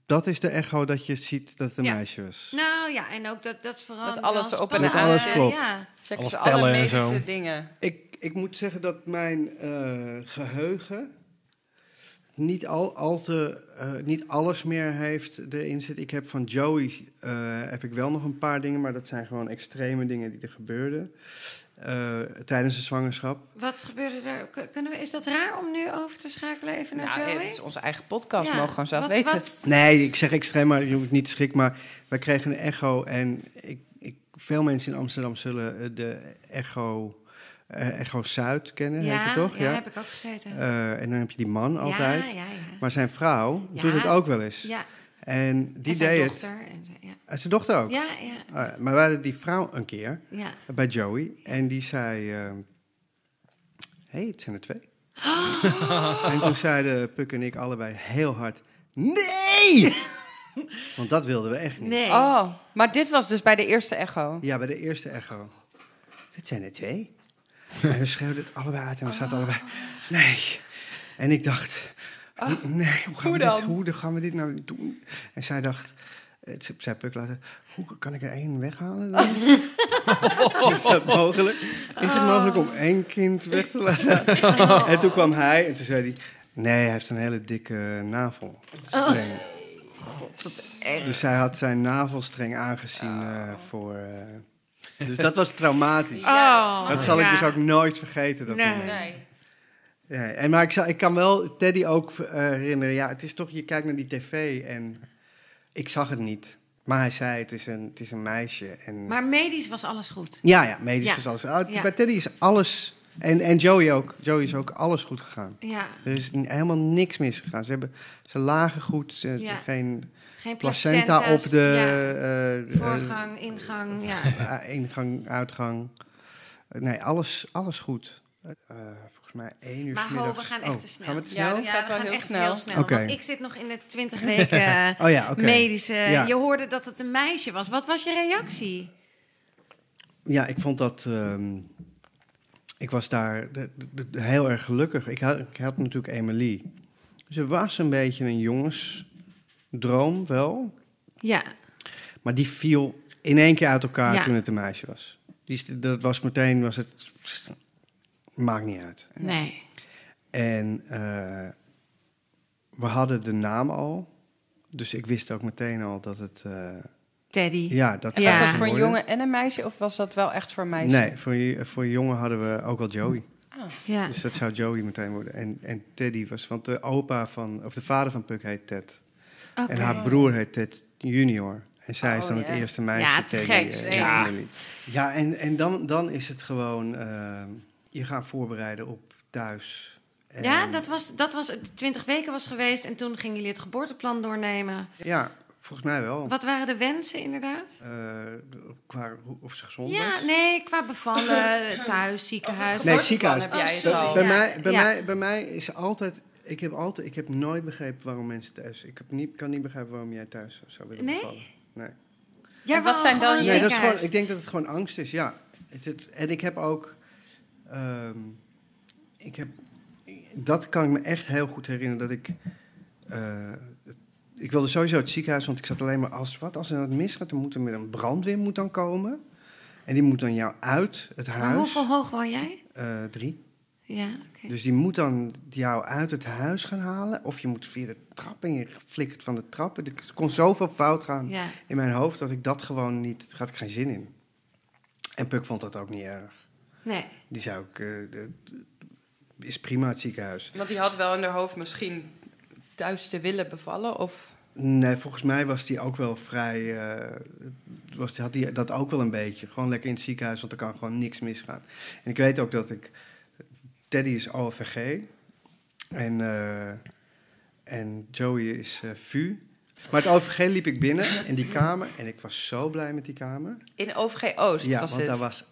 dat is de echo dat je ziet dat het een
Ja.
meisje was.
Nou ja, en ook dat, dat is vooral...
Dat alles
wel
erop en
spannend.
Dat alles
Eh,
klopt.
Ja.
Check
Alles
ze alle
tellen en
medische
zo.
dingen.
Ik, ik moet zeggen dat mijn eh, geheugen niet, al, al te, eh, niet alles meer heeft erin zit. Ik heb van Joey eh, heb ik wel nog een paar dingen, maar dat zijn gewoon extreme dingen die er gebeurden eh, tijdens de zwangerschap.
Wat gebeurde er? K- Kunnen we, is dat raar om nu over te schakelen even naar
Nou,
Joey?
het is onze eigen podcast,
Ja,
mogen we gewoon zelf
wat-
weten.
wat-
Nee, ik zeg extreem, maar je hoeft niet te schrikken. Maar wij kregen een echo en ik, ik, veel mensen in Amsterdam zullen eh, de echo, eh, echo Zuid kennen, heet het toch?
Ja, heb ik ook gezeten.
Eh, en dan heb je die man altijd.
Ja, ja, ja.
Maar zijn vrouw
Ja.
doet het ook wel eens.
ja
En die
en zijn
deed het.
dochter. En, zijn- ja.
En zijn dochter ook.
Ja, ja,
Ah, ja. maar we hadden die vrouw een keer
ja.
bij Joey. En die zei: eh, hey, het zijn er twee. En toen zeiden Puk en ik allebei heel hard: Nee! Want dat wilden we echt niet.
Nee.
Oh, maar dit was dus bij de eerste echo.
Ja, bij de eerste echo. Het zijn er twee. En we schreeuwden het allebei uit en we zaten allebei. Nee. En ik dacht. nee, hoe gaan,
Ah, hoe
we dit,
dan?
hoe dan gaan we dit nou doen? En zij dacht. eh, ze- Zij Puk laten. Hoe kan ik er één weghalen? Dan? Is dat mogelijk? Is het mogelijk om één kind weg te laten? En toen kwam hij en toen zei hij. Nee, hij heeft een hele dikke navel. Dus zij had zijn navelstreng aangezien eh, voor. eh, dus dat was traumatisch.
Ja, dat
Dat zal ik
Oh. Ja.
dus ook nooit vergeten. Dat
Nee.
moment.
Nee.
Ja, en maar ik, zal, ik kan wel Teddy ook eh, herinneren. Ja, het is toch, je kijkt naar die tv en ik zag het niet. Maar hij zei, het is een, het is een meisje. En,
Maar medisch was alles goed.
ja, ja, medisch
Ja.
is alles. Ah,
Ja.
Bij Teddy is alles, en, en Joey ook. Joey is ook alles goed gegaan.
Ja,
Er is n- helemaal niks misgegaan. Ze, hebben, ze lagen goed, ze,
Ja.
geen
geen
placenta op
placenta's,
de
ja.
eh, eh,
Voorgang, ingang, ja.
A- ingang, uitgang. Eh, Nee, alles, alles goed. Eh, volgens mij één uur
Maar ho,
middags.
we gaan
Oh,
echt te snel.
Gaan we
Ja,
te snel?
dat gaat
we
wel
gaan
heel
echt
snel.
heel snel.
Oké.
Want ik zit nog in de 20 weken eh,
Oh ja, oké.
medische.
Ja.
Je hoorde dat het een meisje was. Wat was je reactie?
Ja, ik vond dat... ehm, ik was daar de- de- de- heel erg gelukkig. Ik had, ik had natuurlijk Emily. Ze was een beetje een jongensdroom wel.
Ja,
Maar die viel in één keer uit elkaar
Ja.
toen het een meisje was. Die, is- dat was meteen... Was het, maakt niet uit.
nee.
En eh, we hadden de naam al. Dus ik wist ook meteen al dat het. eh,
Teddy.
ja, dat
Ja.
Was
zou
dat voor een
worden.
jongen en een meisje of was dat wel echt voor een meisje?
Nee, voor, je- voor jongen hadden we ook al Joey.
Ja.
Dus dat zou Joey meteen worden. En, en Teddy was, want de opa van, of de vader van Puck heet Ted.
Oké.
En haar broer heet Ted Junior. En zij is
Oh,
dan
ja.
het eerste meisje
Ja, te
Teddy
gek,
eh, in de
zeker.
familie. Ja, en, en dan, dan is het gewoon, eh, je gaat voorbereiden op thuis. En-
Ja, dat was, dat was het 20 weken was geweest en toen gingen jullie het geboorteplan doornemen.
Ja, volgens mij wel.
Wat waren de wensen inderdaad?
Eh, qua hoe- of ze gezond
Ja,
is.
nee, qua bevallen, thuis, ziekenhuis.
Nee,
Geboorteplan
ziekenhuis.
Heb jij
Oh,
het
sorry.
al.
bij,
Ja.
mij, bij,
Ja.
mij, bij mij is altijd ik, heb altijd... ik heb nooit begrepen waarom mensen thuis... Ik heb niet, kan niet begrijpen waarom jij thuis zou willen
Nee?
bevallen. Nee,
Jij
En wat
wou
zijn
gewoon
dan
een
je-
nee dat is
ziekenhuis.
gewoon, ik denk dat het gewoon angst is, ja. Het, het- en ik heb ook... ehm, ik heb, dat kan ik me echt heel goed herinneren, dat ik... eh, het- ik wilde sowieso het ziekenhuis, want ik zat alleen maar als wat als er wat misgaat, dan moet er met een brandweer moet dan komen. En die moet dan jou uit het
Maar
huis.
hoeveel hoog wou jij?
eh, drie.
Ja, oké.
Dus die moet dan jou uit het huis gaan halen. Of je moet via de trap en je flikkert van de trap. Er kon zoveel fout gaan
Ja.
in mijn hoofd dat ik dat gewoon niet... Daar had ik geen zin in. En Puk vond dat ook niet erg.
Nee.
Die zei ook, eh, de- de- is prima het ziekenhuis.
Want die had wel in haar hoofd misschien thuis te willen bevallen. Of
Nee, volgens mij was die ook wel vrij, eh, was die, had die dat ook wel een beetje. Gewoon lekker in het ziekenhuis, want er kan gewoon niks misgaan. En ik weet ook dat ik, Teddy is OVG en, eh, en Joey is eh, VU. Maar het OVG liep ik binnen in die kamer en ik was zo blij met die kamer.
in OVG Oost
Ja,
was
want
het.
daar was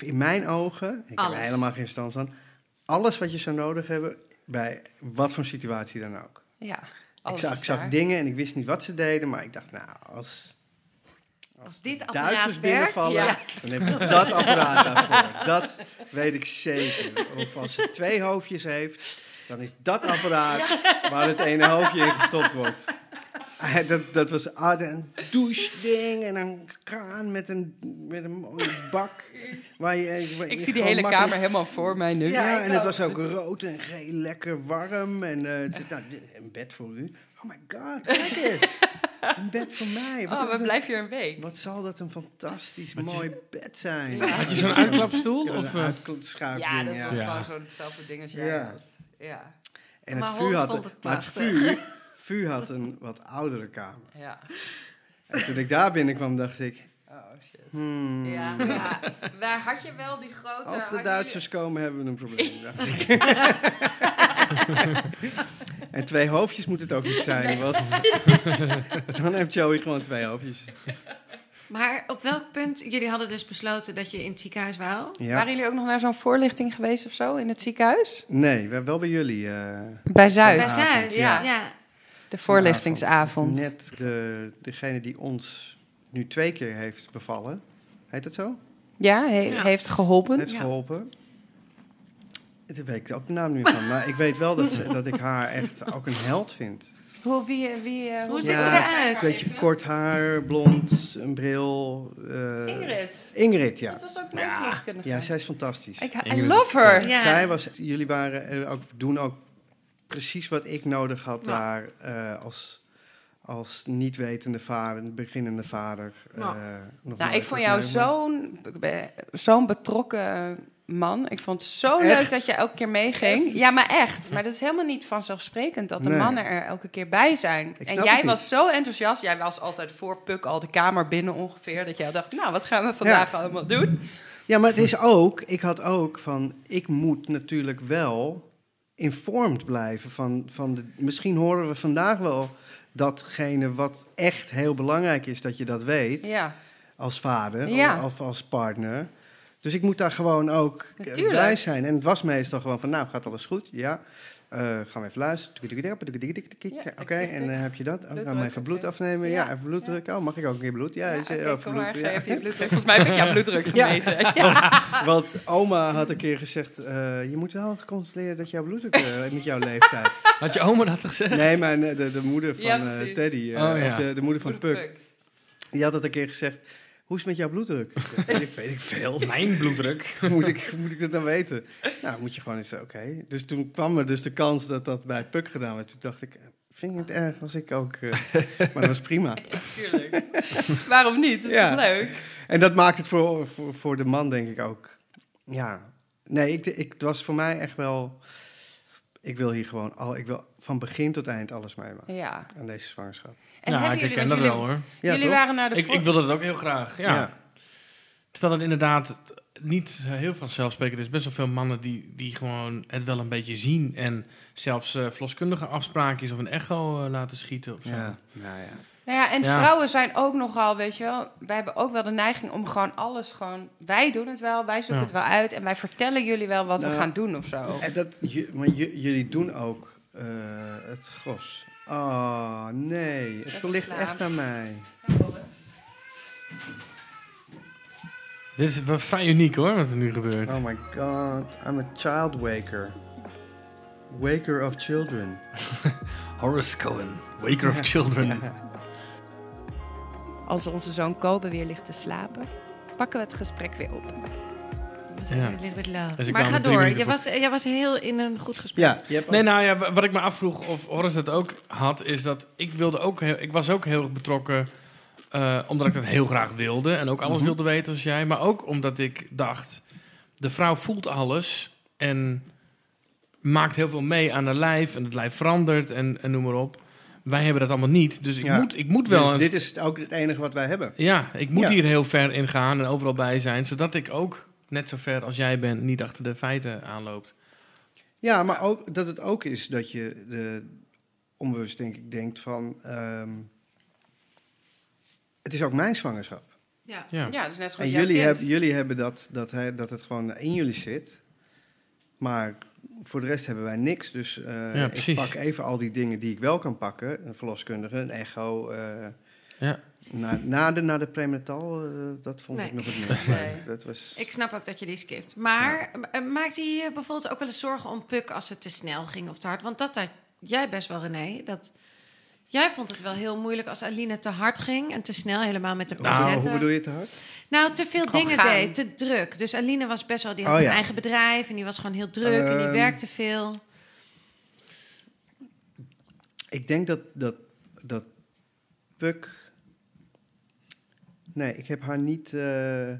in mijn ogen, ik
Alles.
heb er helemaal geen stand van, alles wat je zou nodig hebben bij wat voor situatie dan ook.
Ja,
Ik
alles
zag,
is
ik zag
daar.
dingen en ik wist niet wat ze deden, maar ik dacht, nou, als
Als dit
Duitsers
apparaat werkt...
binnenvallen,
ja.
dan heb ik dat apparaat daarvoor. Dat weet ik zeker. Of als ze twee hoofdjes heeft, dan is dat apparaat waar het ene hoofdje in gestopt wordt. Eh, Dat, dat was ah, een doucheding en een kraan met een, met een mooie bak. Waar je, waar je
Ik zie die
gewoon
hele
makkelijk-
kamer helemaal voor mij nu.
Ja,
Ja, ik
en het
ook.
was ook rood en geel, lekker warm. En eh, het zit nou, dit- een bed voor u. Oh my god, kijk eens. Een bed voor mij. Wat,
Oh,
een-
we blijven hier een week.
wat zal dat een fantastisch
Wat is-
mooi bed zijn.
Had je zo'n uitklapstoel?
Ja,
Of,
een
eh,
uitkleedschuifding,
Ja, dat
ja.
was
Ja.
gewoon zo'nzelfde ding als jij
Ja.
had. Ja,
En het
Maar
vuur
Hans
had,
vond het
maar het
prachtig.
vuur, vuur had een wat oudere kamer.
ja.
En toen ik daar binnenkwam, dacht ik...
Oh, shit.
hmm,
Ja,
Mm.
ja. Waar had je wel die grote...
Als de
had
Duitsers komen, hebben we een probleem, dacht ik. en twee hoofdjes moet het ook niet zijn, want dan heeft Joey gewoon twee hoofdjes.
Maar op welk punt... Jullie hadden dus besloten dat je in het ziekenhuis wou.
jullie-
Ja.
Waren jullie ook nog naar zo'n voorlichting geweest of zo in het ziekenhuis?
Nee, we- wel bij jullie. eh,
Bij Zuid,
Bij Zuid,
ja.
ja.
de voorlichtingsavond.
Net de, degene die ons nu twee keer heeft bevallen. Heet dat zo?
Ja, he-
Ja.
heeft geholpen.
Heeft
Ja.
geholpen. Daar weet ik ook de naam nu van. Maar ik weet wel dat, ze- dat ik haar echt ook een held vind.
Hoe, wie, wie, eh,
Hoe
hoe
ziet
Ja.
ze
Een
eruit?
beetje kort haar, blond, een bril. eh,
Ingrid,
Ingrid, ja.
dat was ook mijn verloskundige.
Ja, zij is fantastisch.
Ik, I
Ingrid
love her.
Ja.
Zij was, jullie waren, eh, ook, doen ook precies wat ik nodig had
Ja.
daar eh, als, als niet-wetende vader, beginnende vader.
Ja.
eh, nog
Nou,
nooit
ik vond
met
jou
mij,
zo'n zo'n betrokken man. Ik vond het zo
Echt?
leuk dat je elke keer meeging. Ja, maar echt. Maar dat is helemaal niet vanzelfsprekend dat de
Nee.
mannen er elke keer bij zijn.
Ik
en
snap
jij
het
was zo enthousiast. Jij was altijd voor Puk al de kamer binnen ongeveer. Dat jij dacht, nou, wat gaan we vandaag allemaal doen?
Ja, maar het is ook, ik had ook van, ik moet natuurlijk wel informed blijven van, van de, misschien horen we vandaag wel datgene wat echt heel belangrijk is dat je dat weet
Ja,
als vader
Ja.
of als partner. Dus ik moet daar gewoon ook eh,
Natuurlijk.
bij zijn. En het was meestal gewoon van, nou, gaat alles goed? Ja. Eh, gaan we even luisteren. Tikkitikkitik, tikkitikkitik.
Ja, tik, tik,
Oké, en eh,
tik.
heb je dat? Oh, gaan we
Bloeddruk,
even bloed
oké.
afnemen? Ja,
Ja,
even bloeddruk. Oh, mag ik ook een keer bloed? Ja,
ja
is, eh,
oké,
of
kom
bloed,
maar,
ja.
ga even je bloeddruk. Volgens mij heb ik jouw bloeddruk
Ja.
gemeten.
Want oma had een keer gezegd, eh, je moet wel gecontroleerd dat jouw bloeddruk eh, met jouw leeftijd.
had je oma dat gezegd?
Nee, maar de, de moeder van
Ja,
eh,
precies.
Teddy, eh,
Oh, ja.
of de, de moeder van
Voor de
Puk, die had dat een keer gezegd. Hoe is het met jouw bloeddruk? Ik weet, ik, weet ik veel.
Mijn bloeddruk.
Moet ik, moet ik dat dan weten? Nou, moet je gewoon eens, oké. Dus toen kwam er dus de kans dat dat bij Puk gedaan werd. Toen dacht ik, eh, vind ik het erg als ik ook... eh, maar dat was prima.
Tuurlijk. Waarom niet? Dat is
Ja.
toch leuk.
En dat maakt het voor, voor, voor de man, denk ik ook. Ja. Nee, ik, ik, het was voor mij echt wel. Ik wil hier gewoon al. Ik wil van begin tot eind alles meemaken
Ja.
aan deze zwangerschap.
En
ja,
hebben
Nou, ik
jullie,
herken dat
want
wel
jullie,
hoor.
Ja,
jullie
toch?
waren naar de
Ik,
voor-
ik wilde dat ook heel graag. Ja. Terwijl het inderdaad niet eh, heel vanzelfsprekend is. Best wel veel mannen die, die gewoon het wel een beetje zien. En zelfs eh verloskundige afspraakjes of een echo eh, laten schieten. Of zo.
Ja. Nou ja.
Nou ja, en
Ja.
vrouwen zijn ook nogal, weet je wel, wij hebben ook wel de neiging om gewoon alles gewoon, wij doen het wel, wij zoeken
Ja.
het wel uit en wij vertellen jullie wel wat we
Nou,
gaan doen of zo.
En dat, ju- maar ju- jullie doen ook eh, het gros. Oh nee, het
een
ligt
slaap.
echt aan mij.
Dit is wel vrij uniek hoor, wat er nu gebeurt.
Oh my god, I'm a child waker. Waker of children.
Horace Cohen, Waker of Children.
Als onze zoon Kobe weer ligt te slapen, pakken we het gesprek weer op.
Ja. Dus ik
Maar
wou
ga
met drie
door.
minuten
Je
voor-
was, jij was heel in een goed gesprek.
Ja, je hebt
Nee,
ook-
nou ja, wa- wat ik me afvroeg of Horace dat ook had, is dat ik wilde ook heel, ik was ook heel erg betrokken Eh, omdat ik dat heel graag wilde en ook alles
Mhm.
wilde weten als jij. Maar ook omdat ik dacht, de vrouw voelt alles en maakt heel veel mee aan haar lijf. En het lijf verandert en, en noem maar op. Wij hebben dat allemaal niet. Dus ik
Ja.
moet, ik moet wel...
Dus
een
dit is ook het enige wat wij hebben.
ja, ik moet
Ja.
hier heel ver in gaan en overal bij zijn, zodat ik ook net zo ver als jij bent niet achter de feiten aanloopt.
Ja, maar ook dat het ook is dat je de, onbewust denk ik denkt van... ehm, het is ook mijn zwangerschap.
Ja.
Ja.
Ja, dus net zo goed
En
jouw
jullie,
kind.
hebben jullie hebben dat, dat, hij, dat het gewoon in jullie zit. Maar voor de rest hebben wij niks. Dus eh,
Ja,
ik
precies.
pak even al die dingen die ik wel kan pakken. Een verloskundige, een echo. eh,
Ja.
na, na, de, na de prenatal, eh, dat vond
Nee.
ik nog het minst.
Nee.
Maar Dat was,
Ik snap ook dat je die skipt. Maar eh, maakt hij je bijvoorbeeld ook wel eens zorgen om Puk als het te snel ging of te hard? Want dat had jij best wel, René. Dat, jij vond het wel heel moeilijk als Aline te hard ging en te snel, helemaal met de
Nou,
nou,
pincetten.
hoe bedoel je het te hard?
Nou, te veel
Gewoon
dingen
gaan.
deed, te druk. Dus Aline was best wel, die had
Oh,
een
ja.
eigen bedrijf en die was gewoon heel druk en die
Ehm.
werkte veel.
Ik denk dat, dat, dat Puk... Nee, ik heb haar niet... eh,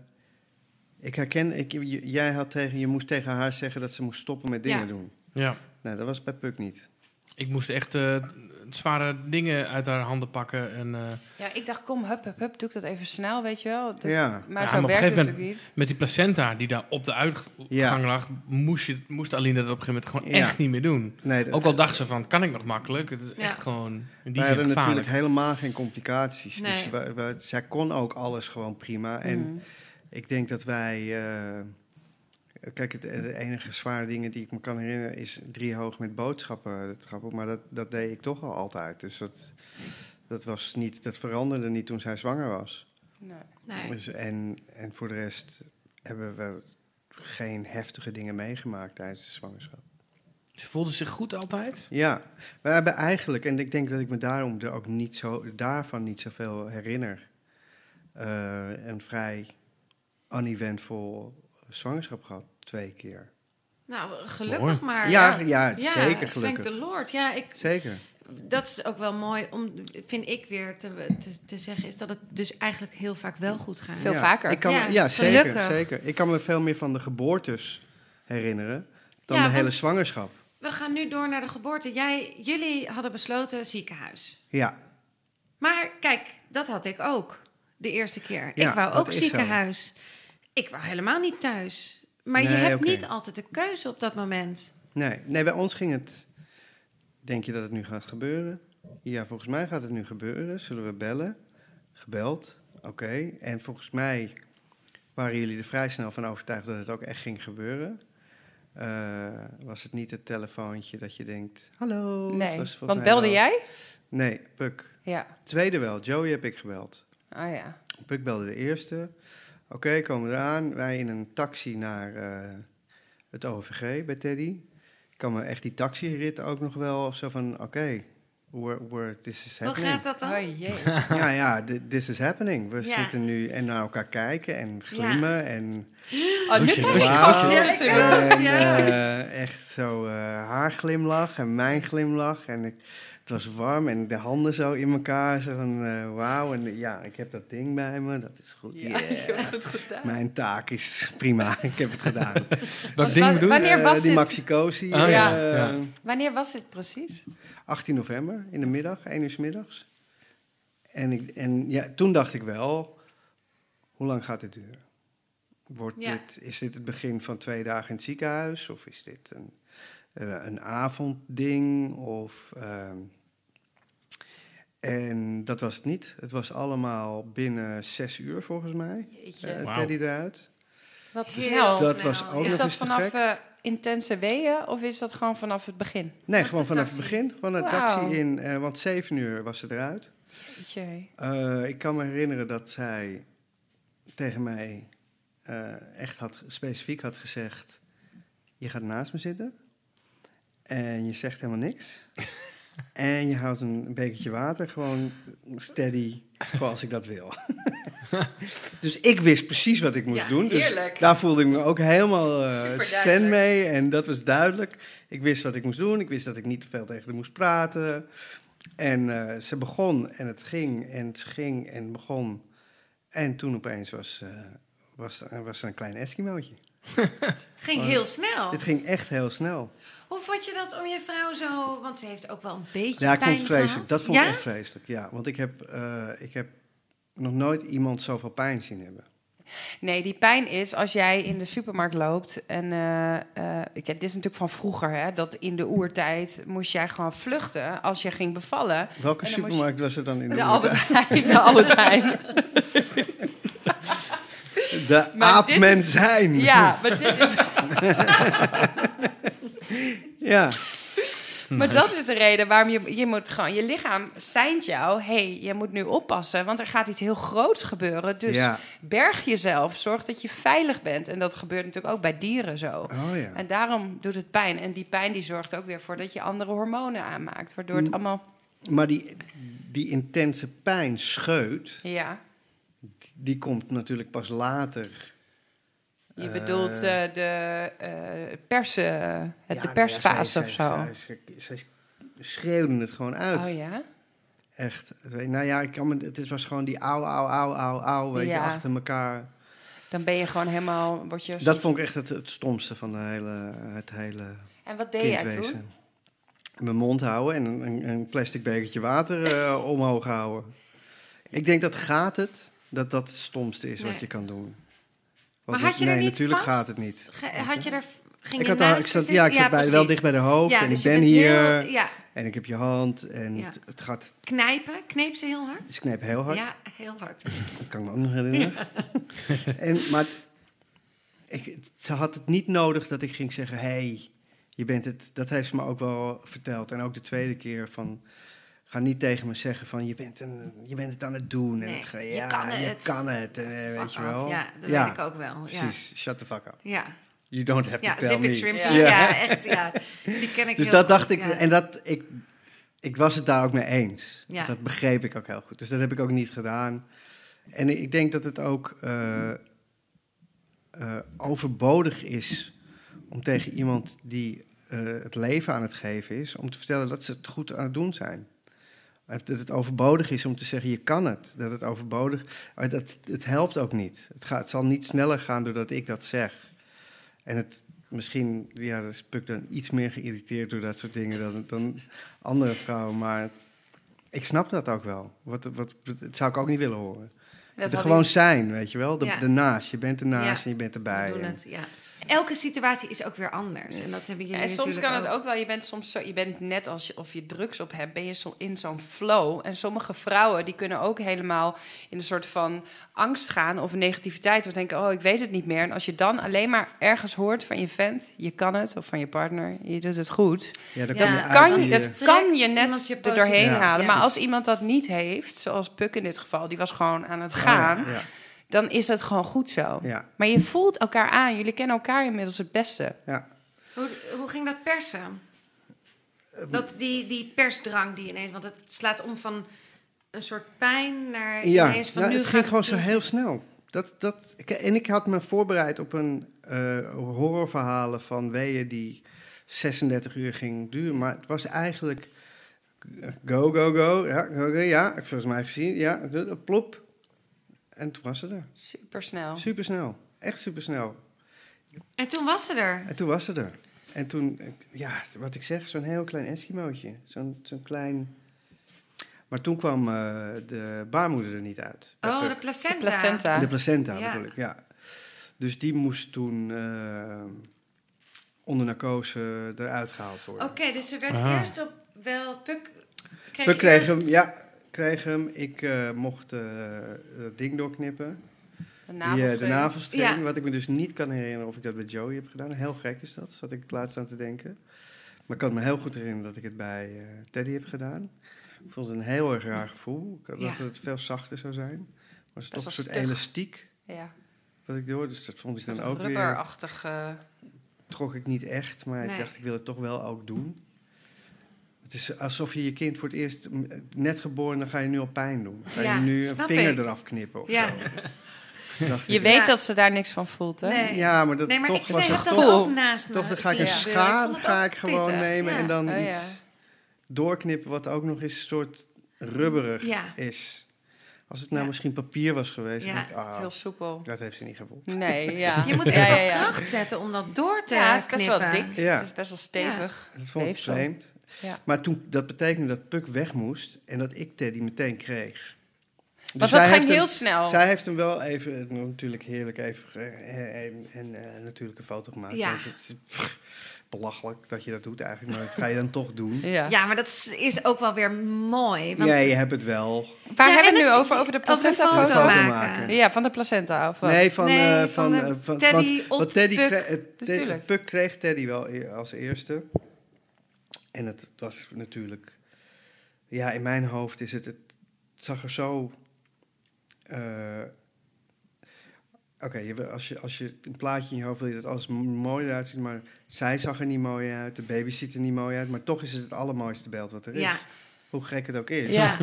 ik herken... Ik, j- jij had tegen, je moest tegen haar zeggen dat ze moest stoppen met dingen
Ja.
doen.
Ja,
Nee, dat was bij Puk niet.
ik moest echt eh, zware dingen uit haar handen pakken. En, eh,
Ja, ik dacht, kom, hup, hup, hup, doe ik dat even snel, weet je wel. Dus-
ja.
Maar
Ja,
zo
maar op een
werkt het
gegeven
natuurlijk niet.
met die placenta die daar op de uitgang
Ja.
lag, moest, je, moest Aline dat op een gegeven moment gewoon
Ja.
echt niet meer doen.
Nee, dat-
Ook al dacht ze van, kan ik nog makkelijk? Het is
Ja.
Echt gewoon,
wij
in die zin
hadden natuurlijk
gevaarlijk.
helemaal geen complicaties. Dus
Nee. Mm.
wij- wij- zij kon ook alles gewoon prima. En
Mhm.
ik denk dat wij... eh, kijk, het, de enige zware dingen die ik me kan herinneren... is drie hoog met boodschappen. eh, Dat grap ik, maar dat, dat deed ik toch al altijd. Dus dat, dat, was niet, dat veranderde niet toen zij zwanger was.
Nee.
Nee.
Dus en, en voor de rest hebben we geen heftige dingen meegemaakt tijdens de zwangerschap.
Ze voelde zich goed altijd.
Ja, we hebben eigenlijk, en ik denk dat ik me daarom er ook niet zo, daarvan niet zoveel herinner, eh, een vrij uneventful zwangerschap gehad, twee keer.
Nou, gelukkig
Mooi.
maar.
ja, ja, zeker
Thank
gelukkig.
the Lord. Ja, ik,
Zeker.
dat is ook wel mooi om, vind ik weer te, te, te zeggen, is dat het dus eigenlijk heel vaak wel goed gaat.
Veel
ja.
vaker.
Ik kan, ja,
Ja,
zeker,
gelukkig.
zeker. Ik kan me veel meer van de geboortes herinneren dan
Ja,
de hele
want-
zwangerschap.
We gaan nu door naar de geboorte. Jij, jullie hadden besloten ziekenhuis.
Ja,
Maar kijk, dat had ik ook de eerste keer.
Ja,
ik wou
dat
ook
is
ziekenhuis. Ik wou helemaal niet thuis. Maar je
Nee,
hebt
oké.
niet altijd de keuze op dat moment.
nee. nee, bij ons ging het, denk je dat het nu gaat gebeuren? Ja, volgens mij gaat het nu gebeuren. Zullen we bellen? Gebeld, oké. En volgens mij waren jullie er vrij snel van overtuigd dat het ook echt ging gebeuren. Eh, was het niet het telefoontje dat je denkt, hallo? Het
Nee,
was volgens
want
mij
belde
wel-
jij?
Nee, Puk.
Ja.
Tweede wel, Joey heb ik gebeld.
Ah ja.
Puk belde de eerste. Oké, komen we eraan. Wij in een taxi naar eh, het OVG bij Teddy. Ik kan me echt die taxirit ook nog wel zo van... Oké, we're, we're- this is
Hoe
happening.
gaat dat dan?
Oh jee.
Ja, ja, thi- this is happening. We
Ja.
zitten nu en naar elkaar kijken en glimmen en...
Oh, nu
Hoesje,
kom je
hoesje,
gewoon
wauw.
serieus in beeld.
En
Ja.
eh, echt zo eh, haar glimlach en mijn glimlach. En ik, het was warm en de handen zo in elkaar. Zo van, eh, wauw. En ja, ik heb dat ding bij me. Dat is goed.
Ja, je
Yeah.
hebt het gedaan.
Mijn taak is prima, ik heb het gedaan.
Dat ding
wa-
bedoel je?
Wanneer
Eh,
was
Die
dit?
Maxi Cosi,
Ah,
ja.
eh,
Ja.
Wanneer was dit precies?
18 november in de middag, 1 uur 's middags. En, ik, en ja, toen dacht ik wel, hoe lang gaat dit duren? Wordt
Ja.
dit, is dit het begin van twee dagen in het ziekenhuis? Of is dit een, eh, een avondding? Of, ehm, en dat was het niet. Het was allemaal binnen zes uur volgens mij.
Jeetje,
eh,
Wauw.
Teddy eruit.
wat
Heel
snel.
Dat
snel.
was ook
is
nog
dat
eens te
vanaf
gek.
eh, intense weeën of is dat gewoon vanaf het begin?
Nee,
Vanaf
gewoon
de
vanaf het
taxi.
begin. Van de
Wauw.
taxi in, eh, want 7 uur was ze eruit.
Jeetje.
Eh, ik kan me herinneren dat zij tegen mij eh, echt had, specifiek had gezegd: Je gaat naast me zitten en je zegt helemaal niks. en je houdt een bekertje water gewoon steady voor als ik dat wil. dus ik wist precies wat ik moest
Ja,
doen. Dus
heerlijk.
daar voelde ik me ook helemaal eh
Superduidelijk.
zen mee en dat was duidelijk. Ik wist wat ik moest doen. Ik wist dat ik niet te veel tegen haar moest praten. En eh, ze begon en het ging en het ging en begon. En toen opeens was, eh, was, er- was er een klein Eskimootje.
Ging
Oh.
heel snel.
Dit ging echt heel snel.
Hoe vond je dat om je vrouw zo... Want ze heeft ook wel een beetje
Ja, ik vond
pijn
het vreselijk.
gehad.
Dat vond ik
Ja?
echt vreselijk, ja. Want ik heb, eh, ik heb nog nooit iemand zoveel pijn zien hebben.
Nee, die pijn is als jij in de supermarkt loopt. En eh, eh, ik, dit is natuurlijk van vroeger, hè, dat in de oertijd moest jij gewoon vluchten als je ging bevallen.
Welke
En dan moest je-
supermarkt was er dan in de
De
buurt?
Albert Heijn, de Albert Heijn.
De
Maar dit is-
aapmensijn.
Ja, maar, dit is,
ja.
maar dat is de reden waarom je, je moet gewoon... Je lichaam seint jou, hé, hey, je moet nu oppassen, want er gaat iets heel groots gebeuren. Dus
Ja.
berg jezelf, zorg dat je veilig bent. En dat gebeurt natuurlijk ook bij dieren zo.
Oh ja.
En daarom doet het pijn. En die pijn die zorgt ook weer voor dat je andere hormonen aanmaakt. Waardoor het
Mm.
allemaal...
Maar die, die intense pijn scheut,
Ja,
die komt natuurlijk pas later.
je
Eh,
bedoelt eh, de, eh, pers, eh, het,
Ja,
de
nee,
persfase
zij-
of
zij-
zo.
zij- zij- zij schreeuwden het gewoon uit.
oh ja?
Echt. Het we- Nou ja, ik kan me, het was gewoon die au, au, au, au, au, weet
Ja.
je, achter elkaar.
Dan ben je gewoon helemaal... Word je
Dat vond ik echt het, het stomste van de hele, het hele
En wat deed jij toen?
kindwezen. Mijn mond houden en een- een, een plastic bekertje water eh, omhoog houden. Ik denk dat gaat het, dat dat het stomste is
Nee.
wat je kan doen.
Maar
Want
had je
nee,
er niet
natuurlijk
vast?
gaat het niet.
Ge- had je er... Ging
Ik
je
had al, ik
naast
zat,
zitten?
ja, ik zat bij, wel
precies.
dicht bij de hoofd
Ja,
en
dus
ik
je
ben
bent
hier
heel- ja,
en ik heb je hand en
Ja.
het, het gaat,
knijpen. Kneep ze heel hard?
het knijp heel hard.
Ja, heel hard.
Dat kan ik me ook nog herinneren. en, maar het- ik, het- ze had het niet nodig dat ik ging zeggen: hé, hey, je bent het. Dat heeft ze me ook wel verteld. En ook de tweede keer van. Ga niet tegen me zeggen van je bent, een, je bent het aan het doen. en
Nee,
het, ga-
je
ja,
kan
je
het.
kan het. En, eh, weet
Fuck
je
off.
wel.
Ja, dat
Ja,
weet ik ook wel. Ja.
Precies, shut the fuck up.
Ja,
You don't have
ja
to tell
zip it
me.
shrimpy.
Ja.
Ja. echt. Ja. Die ken ik
Dus
heel
dat dacht
goed,
ik.
ja.
En dat, ik, ik was het daar ook mee eens.
Ja.
Dat begreep ik ook heel goed. Dus dat heb ik ook niet gedaan. En ik denk dat het ook eh, eh, overbodig is om tegen iemand die eh, het leven aan het geven is, om te vertellen dat ze het goed aan het doen zijn. Eh, Dat het overbodig is om te zeggen, je kan het. Dat het overbodig... eh, Dat, het helpt ook niet. Het, gaat, het zal niet sneller gaan doordat ik dat zeg. En het, misschien, ja, dat is Puk dan iets meer geïrriteerd door dat soort dingen dan, dan andere vrouwen. Maar ik snap dat ook wel. Wat, wat, dat zou ik ook niet willen horen.
Dat
er
had
gewoon
ik-
zijn, weet je wel. De,
Ja.
Ernaast. Je bent ernaast
Ja,
en je bent
We
erbij.
doen
En-
het, ja. Elke situatie is ook weer anders. En dat hebben jullie
En soms
natuurlijk
kan het ook wel, je bent soms zo, je bent net als je, of je drugs op hebt, ben je zo in zo'n flow. En sommige vrouwen die kunnen ook helemaal in een soort van angst gaan of negativiteit. Of denken, oh ik weet het niet meer. En als je dan alleen maar ergens hoort van je vent, je kan het, of van je partner, je doet het goed.
Ja, dan
Ja,
Dat
kom je uit
kan,
die, eh,
het kan je
Trekt iemand
net
je
er doorheen
positief. Ja,
halen. Maar
ja.
als iemand dat niet heeft, zoals Puk in dit geval, die was gewoon aan het
oh ja,
gaan,
Ja,
dan is dat gewoon goed zo.
ja,
Maar je voelt elkaar aan. Jullie kennen elkaar inmiddels het beste.
Hoe, hoe ging dat persen?
Eh,
Dat die, die persdrang die ineens... Want het slaat om van een soort pijn naar
Ja,
ineens van
nou,
nu
het
gaat
ging gewoon zo
doen.
heel snel. Dat, dat, ik- en ik had me voorbereid op een eh, horrorverhalen van Weeën die 36 uur ging duren. Maar het was eigenlijk go, go, go. Ja, go, go, ja. Ik heb volgens mij gezien. Ja, plop. En toen was ze er.
Supersnel.
Supersnel. Echt supersnel.
En toen was ze er.
En toen was ze er. En toen, eh, ja, wat ik zeg, zo'n heel klein Eskimootje. Zo'n zo'n klein... Maar toen kwam eh, de baarmoeder er niet uit. Bij
Oh,
Puck.
de placenta.
Placenta.
De placenta
Ja.
bedoel ik, ja. Dus die moest toen eh, onder narcose eruit gehaald
Oké,
worden.
dus ze werd
Ah.
eerst op wel... Puk kreeg,
We kregen
eerst-
hem, ja, kreeg hem. Ik eh, mocht eh het ding doorknippen.
De
Die, eh, de
navelstreng.
navelstreng,
Ja.
wat ik me dus niet kan herinneren of ik dat bij Joey heb gedaan. Heel gek is dat, zat ik laatst aan te denken. Maar ik kan me heel goed herinneren dat ik het bij eh, Teddy heb gedaan. Ik vond het een heel erg raar gevoel. Ik dacht
Ja.
dat het veel zachter zou zijn. Maar het
Best
was toch een
wel
soort
stug.
elastiek
Ja,
wat ik door, dus dat vond ik
een
dan ook weer...
rubberachtig. eh,
trok ik niet echt, maar
Nee.
ik dacht ik wil het toch wel ook doen. Het is alsof je je kind voor het eerst m, net geboren, dan ga je nu al pijn doen. Ga
Ja,
je nu een
snap
vinger
ik.
eraf knippen of
Ja.
zo. Dacht
Je
ik,
weet
Ja.
dat ze daar niks van voelt, hè?
Nee.
Ja, maar dat
Nee, maar
toch
ik
was
zeg
het
dat
toch.
ook naast me.
Toch dan ga ik
zie
een
je.
schaar
vond het
ga
ook
ik gewoon
pittig,
nemen
ja.
en dan
Oh, ja.
iets doorknippen wat ook nog eens een soort rubberig
Ja.
is. Als het nou
Ja.
misschien papier was geweest,
Ja,
dan denk ik,
Het
ah,
is heel soepel.
dat heeft ze niet gevoeld.
Nee, ja.
Je moet echt
ja,
wel
ja, ja.
kracht zetten om dat door te
Ja, het is best wel
knippen.
dik.
Ja.
Het is best wel stevig.
Dat vond ik
Weefsel.
vreemd.
Ja.
Maar toen, dat betekende dat Puk weg moest en dat ik Teddy meteen kreeg. Dus
Want
zij
dat ging
heeft hem-
heel snel.
Zij heeft hem wel even, eh, natuurlijk heerlijk even, ge- eh, en, en eh, natuurlijk een foto gemaakt.
Ja.
Want het is pff, belachelijk dat je dat doet eigenlijk, maar dat ga je dan toch doen.
Ja.
Ja, maar dat is, is ook wel weer mooi. Want,
Ja, je hebt het wel.
Waar hebben we
Ja, en
het nu
het-
over? Over de
over de
placenta
foto,
foto
maken.
maken.
Ja, van de placenta af.
Nee, van,
Nee,
eh,
van
van,
de
eh, van
Teddy
want-
op
want Teddy
Puk.
kreeg- eh, Ted-
Natuurlijk.
Puk kreeg Teddy wel e- als eerste. En het was natuurlijk... Ja, in mijn hoofd is het... Het zag er zo... eh, Oké, je wil- als, je, als je een plaatje in je hoofd wil je dat alles m- mooi eruit ziet, maar zij zag er niet mooi uit, de baby ziet er niet mooi uit, maar toch is het het allermooiste beeld wat er is.
Ja,
Hoe gek het ook is.
ja,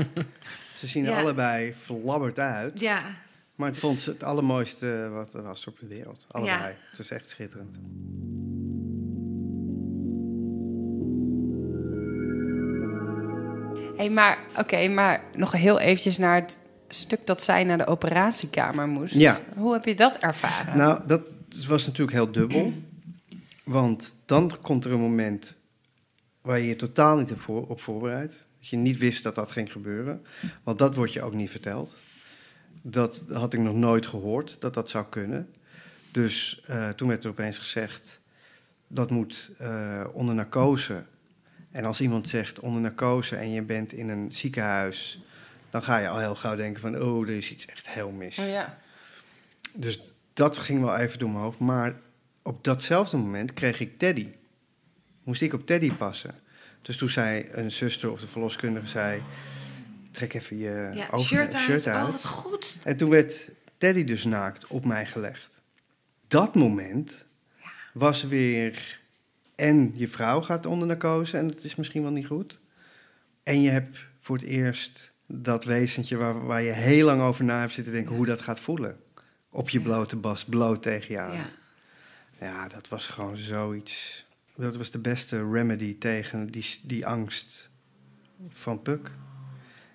Ze zien er
Ja.
allebei verlabberd uit.
ja.
Maar het vond ze het allermooiste eh, wat er was op de wereld. Allebei. Het is echt schitterend.
Hey, maar oké, maar nog heel eventjes naar het stuk dat zij naar de operatiekamer moest.
Ja.
Hoe heb je dat ervaren?
Nou, dat was natuurlijk heel dubbel. Want dan komt er een moment waar je je totaal niet op voor- op voorbereid. Dat je niet wist dat dat ging gebeuren. Want dat wordt je ook niet verteld. Dat had ik nog nooit gehoord, dat dat zou kunnen. Dus eh, toen werd er opeens gezegd, dat moet eh, onder narcose. En als iemand zegt onder narcose en je bent in een ziekenhuis... dan ga je al heel gauw denken van, oh, er is iets echt heel mis.
Oh ja.
Dus dat ging wel even door mijn hoofd. Maar op datzelfde moment kreeg ik Teddy. Moest ik op Teddy passen. Dus toen zei een zuster of de verloskundige zei... Trek even je
ja.
over-
shirt uit. Oh, wat goed.
En toen werd Teddy dus naakt op mij gelegd. Dat moment was weer... En je vrouw gaat onder narcose en het is misschien wel niet goed. En je hebt voor het eerst dat wezentje waar, waar je heel lang over na hebt zitten denken... hoe dat gaat voelen. Op je blote bas, bloot tegen je aan.
Ja.
Ja, dat was gewoon zoiets. Dat was de beste remedy tegen die, die angst van Puk.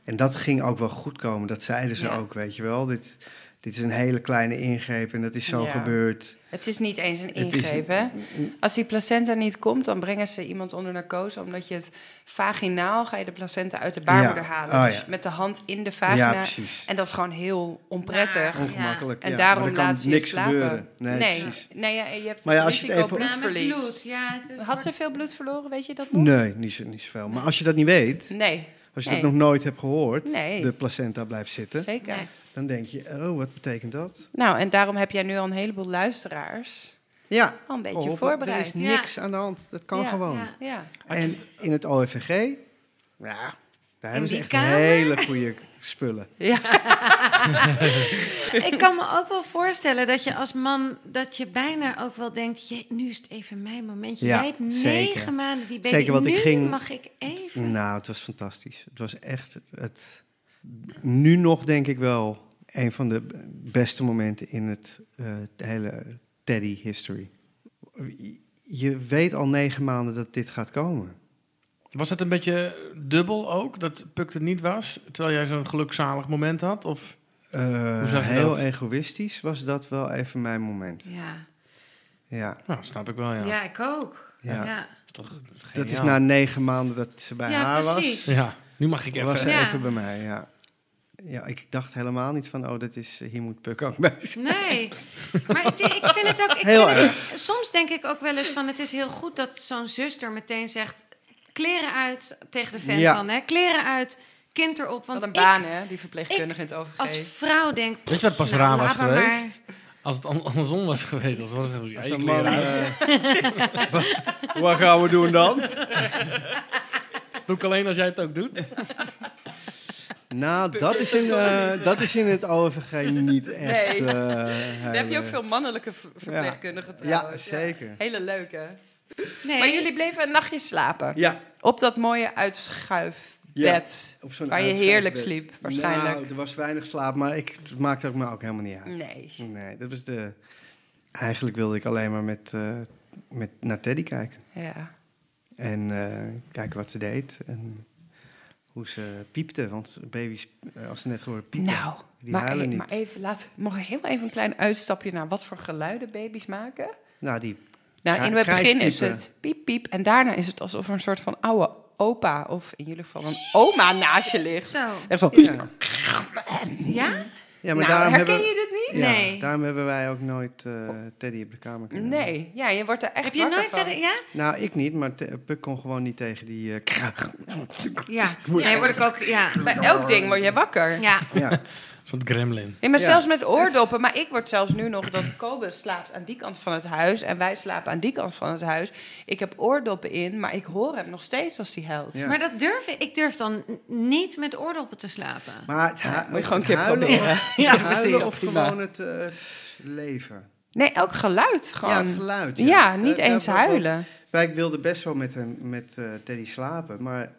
En dat ging ook wel goed komen. Dat zeiden ze
Ja.
ook, weet je wel. Dit, dit is een hele kleine ingreep en dat is zo
Ja.
gebeurd.
Het is niet eens een
Het is-
ingreep, hè? Als die placenta niet komt, dan brengen ze iemand onder narcose... omdat je het vaginaal ga je de placenta uit de baarmoeder
Ja.
halen.
Oh,
dus
ja.
met de hand in de
ja,
vagina.
precies.
en dat is gewoon heel onprettig.
Ja.
Ongemakkelijk.
En
ja. Maar
daarom
er kan
laat ze je
niks
slapen.
gebeuren. Nee,
Nee, nee,
precies.
ja, je hebt
Maar ja, als je het
risico
even-
Ja, met
bloedverlies.
bloed. Ja, het-
Had ze veel bloed verloren, weet je dat nog?
Nee, niet, zo- niet zoveel. Maar als je dat niet weet,
Nee,
als je
Nee.
dat nog nooit hebt gehoord,
Nee.
de placenta blijft zitten,
zeker.
Nee.
dan denk je, oh, wat betekent dat?
Nou, en daarom heb jij nu al een heleboel luisteraars
Ja,
al een beetje
geholpen.
voorbereid.
Oh, Er is
Ja.
niks aan de hand. Dat kan
Ja,
gewoon.
ja.
Ja.
En in het OFVG, ja, daar hebben ze
die
echt
kamer?
hele goede spullen.
Ja.
Ik kan me ook wel voorstellen dat je als man dat je bijna ook wel denkt, "Jee, nu is het even mijn momentje.
Ja,
Jij hebt
zeker.
negen maanden die baby.
Zeker, want
nu
ik ging-
mag ik even.
Nou, het was fantastisch. Het was echt het, het- nu nog denk ik wel een van de beste momenten in het eh, hele Teddy history. Je weet al negen maanden dat dit gaat komen.
Was het een beetje dubbel ook, dat Puk er niet was, terwijl jij zo'n gelukzalig moment had? Of
Eh,
Hoe zag je
heel
dat?
egoïstisch was dat wel even mijn moment.
Ja.
Ja,
Nou, snap ik wel, ja.
Ja. ik ook.
Ja.
Ja,
Is toch, is
dat is nou-
geniaal.
na negen maanden dat ze bij
Ja,
haar was.
precies.
Ja, nu mag ik even...
was ze
Ja.
even bij mij, ja. Ja, ik dacht helemaal niet van, oh, dat is, hier moet Puk ook bij zijn.
Nee, maar het- ik vind het ook. Ik
Heel
vind het, soms denk ik ook wel eens van: het is heel goed dat zo'n zuster meteen zegt: kleren uit tegen de vent
Ja.
dan, hè? Kleren uit, kind erop. Want
Want een
ik
baan, hè, die verpleegkundige in het
als
overgegeven.
vrouw denk.
Weet je wat pas
Nou,
raar was
laat maar maar.
geweest? Als het an- andersom was geweest, als was het ja,
Als
je
een
kleren
man,
uit.
eh, wa- wat gaan we doen dan?
Doe ik alleen als jij het ook doet.
Nou, dat is in, eh, dat is in het OVG niet echt...
Nee.
eh,
Daar heb je ook
hele-
veel mannelijke v- verpleegkundigen
Ja,
trouwens.
zeker.
Hele leuke.
Nee,
Maar jullie bleven een nachtje slapen.
Ja,
Op dat mooie uitschuifbed.
op zo'n
Waar je
uitschuifbed.
heerlijk sliep, waarschijnlijk.
Nou, er was weinig slaap, maar ik, het maakte ook me ook helemaal niet uit.
Nee.
Nee, dat was de... Eigenlijk wilde ik alleen maar met, eh, met, naar Teddy kijken.
Ja.
En eh, kijken wat ze deed en hoe ze piepte. Want baby's, eh, als ze net geworden piepen,
Nou,
die
maar,
huilen
e-
niet.
maar even laat, mag ik heel even een klein uitstapje naar wat voor geluiden baby's maken?
Nou, die,
Nou,
Kra-
in het begin is
krijspiepen.
het piep piep en daarna is het alsof er een soort van oude opa of in jullie geval een oma naast je ligt.
Zo.
Echt zo.
Ja?
ja, maar
nou,
daarom,
herken
hebben,
je dit
ja,
Nee.
daarom hebben wij ook nooit eh, Teddy op de kamer
niet?
kunnen hebben.
Nee, ja, je wordt er echt
Heb je
wakker
nooit...
van.
eh, Ja?
Nou, ik niet, maar Te- Puk kon gewoon niet tegen die... eh, kraak.
Ja. Nee, word ik ook... Ja.
Bij elk ding word je wakker.
Ja.
ja,
Zo'n gremlin.
Nee, maar
Ja.
zelfs met oordoppen. Maar ik word zelfs nu nog dat Kobe slaapt aan die kant van het huis en wij slapen aan die kant van het huis. Ik heb oordoppen in, maar ik hoor hem nog steeds als hij huilt.
ja.
Maar dat durf ik. Ik durf dan n- niet met oordoppen te slapen.
Maar het hu-
Moet je gewoon een
het
keer
huilen,
proberen.
of-
Ja,
het huilen
precies.
of
Prima.
gewoon het, eh, het leven.
Nee, elk geluid gewoon.
Ja, het geluid.
Ja, niet
Eh,
eens
daar- want
huilen.
Wij wilden best wel met, hem, met eh, Teddy slapen, maar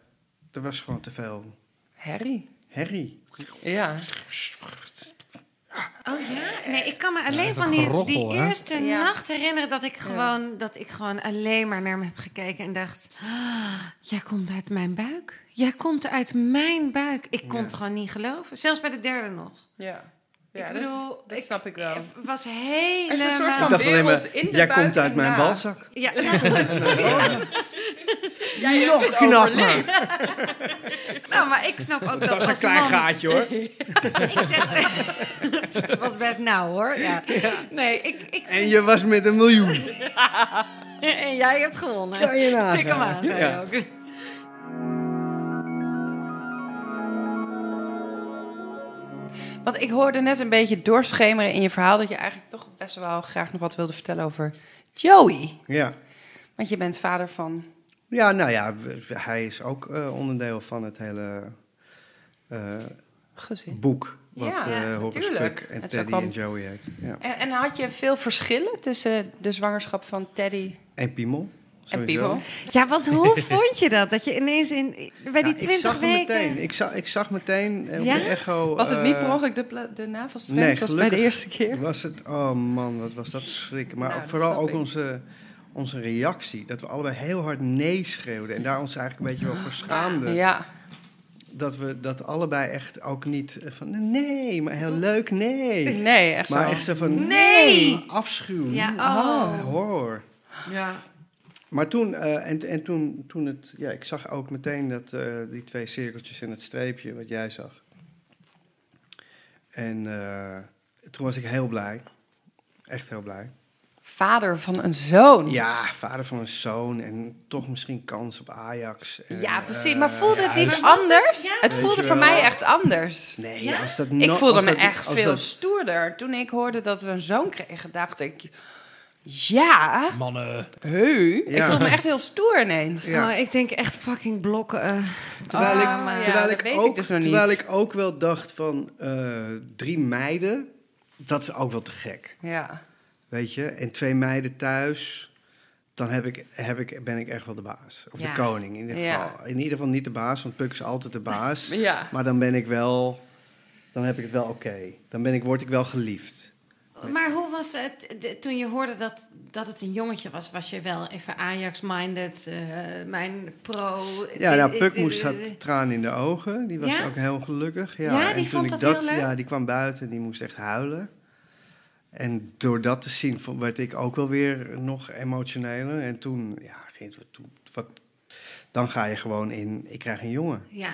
er was gewoon te veel
Harry.
herrie.
Ja.
Oh ja? Nee, ik kan me alleen
Ja, dat
van die,
gerochel,
die
hè?
eerste
Ja.
nacht herinneren dat ik, gewoon, dat ik gewoon alleen maar naar hem heb gekeken en dacht: "Ah, Jij komt uit mijn buik. Jij komt uit mijn buik. Ik kon het gewoon niet geloven. Zelfs bij de derde nog.
Ja.
ik bedoel,
dat
ik- eh,
snap ik wel.
Het was
Er is
helemaal.
een soort
Ik
van
dacht alleen
wereld
maar,
in de
jij
buik
komt uit
en
mijn
na.
balzak.
Ja,
Jij
Nog knapper.
nou, maar ik snap ook dat,
Dat is een
als
klein
man-
gaatje hoor.
Ik zeg, het was best nauw hoor. Ja. Nee, ik, ik
En je was met een miljoen.
en jij hebt gewonnen.
Kan je nagaan.
Tik hem aan, zei
Ja.
je ook.
Want ik hoorde net een beetje doorschemeren in je verhaal dat je eigenlijk toch best wel graag nog wat wilde vertellen over Joey.
Ja.
Want je bent vader van.
ja, nou ja, we- we- hij is ook eh, onderdeel van het hele eh,
Gezin.
boek. Wat
Ja,
eh
ja,
Horace
natuurlijk.
Puk en
Het is ook
Teddy
wel-
en Joey heet. Ja.
En, en had je veel verschillen tussen de zwangerschap van Teddy
En Piemel.
en
sowieso.
Piemel?
Ja, want hoe vond je dat? Dat je ineens in, bij die
Ja, Nou, ik
twintig
zag
weken...
hem meteen. Ik, zag, ik zag meteen eh, op
Ja?
de echo...
Was het niet
eh,
per ongeluk de, pla- de navelstreng
nee,
zoals bij de
gelukkig.
eerste keer?
Was het, oh man, wat was dat schrik. Maar
Nou, dat
vooral
snap
ook
ik.
onze, onze reactie. Dat we allebei heel hard nee schreeuwden. En daar ons eigenlijk een beetje wel voor schaamden.
Ja.
Dat we dat allebei echt ook niet eh, van nee, maar heel leuk, nee.
Nee, echt
Maar
zo.
echt zo van
Nee!
afschuw.
Ja,
Ah,
oh.
horror.
Ja.
Maar toen, eh, en, en toen, toen het, ja, ik zag ook meteen dat eh, die twee cirkeltjes en het streepje, wat jij zag. En eh, toen was ik heel blij. Echt heel blij.
Vader van een zoon.
Ja, vader van een zoon en toch misschien kans op Ajax. En,
Ja, precies.
eh,
maar voelde het niet
huis-
was het-
anders?
ja,
het
weet
voelde
je
voor
wel.
mij echt anders.
Nee,
Ja?
als dat
Ik
no-
voelde
als
me
dat-
echt
als
veel
dat-
stoerder. Toen ik hoorde dat we een zoon kregen, dacht ik... Ja,
Mannen.
heu. Ik
Ja.
voelde me echt heel stoer ineens.
Ja.
Oh, ik denk echt fucking blokken. eh.
Terwijl ik,
Ah, maar ja,
terwijl
dat
ik
weet ik
ook,
dus nog niet.
terwijl ik ook wel dacht van eh, drie meiden, dat is ook wel te gek.
Ja.
Weet je, en twee meiden thuis, dan heb ik, heb ik, ben ik echt wel de baas. Of
Ja.
de koning in ieder
Ja.
geval. In ieder geval niet de baas, want Puk is altijd de baas.
Ja.
Maar dan ben ik wel, dan heb ik het wel oké. Dan ben ik, word ik wel geliefd.
Maar hoe was het de- toen je hoorde dat, dat het een jongetje was? Was je wel even Ajax-minded, eh, mijn pro?
Ja, nou, Puk
eh,
moest
eh,
had tranen in de ogen. Die was
Ja?
ook heel gelukkig. Ja,
Ja,
en
die
toen
vond
ik
dat heel leuk?
Ja, die kwam buiten en die moest echt huilen. En door dat te zien vo- werd ik ook wel weer nog emotioneler. En toen, ja, ging het- toen- wat, dan ga je gewoon in, ik krijg een jongen.
Ja,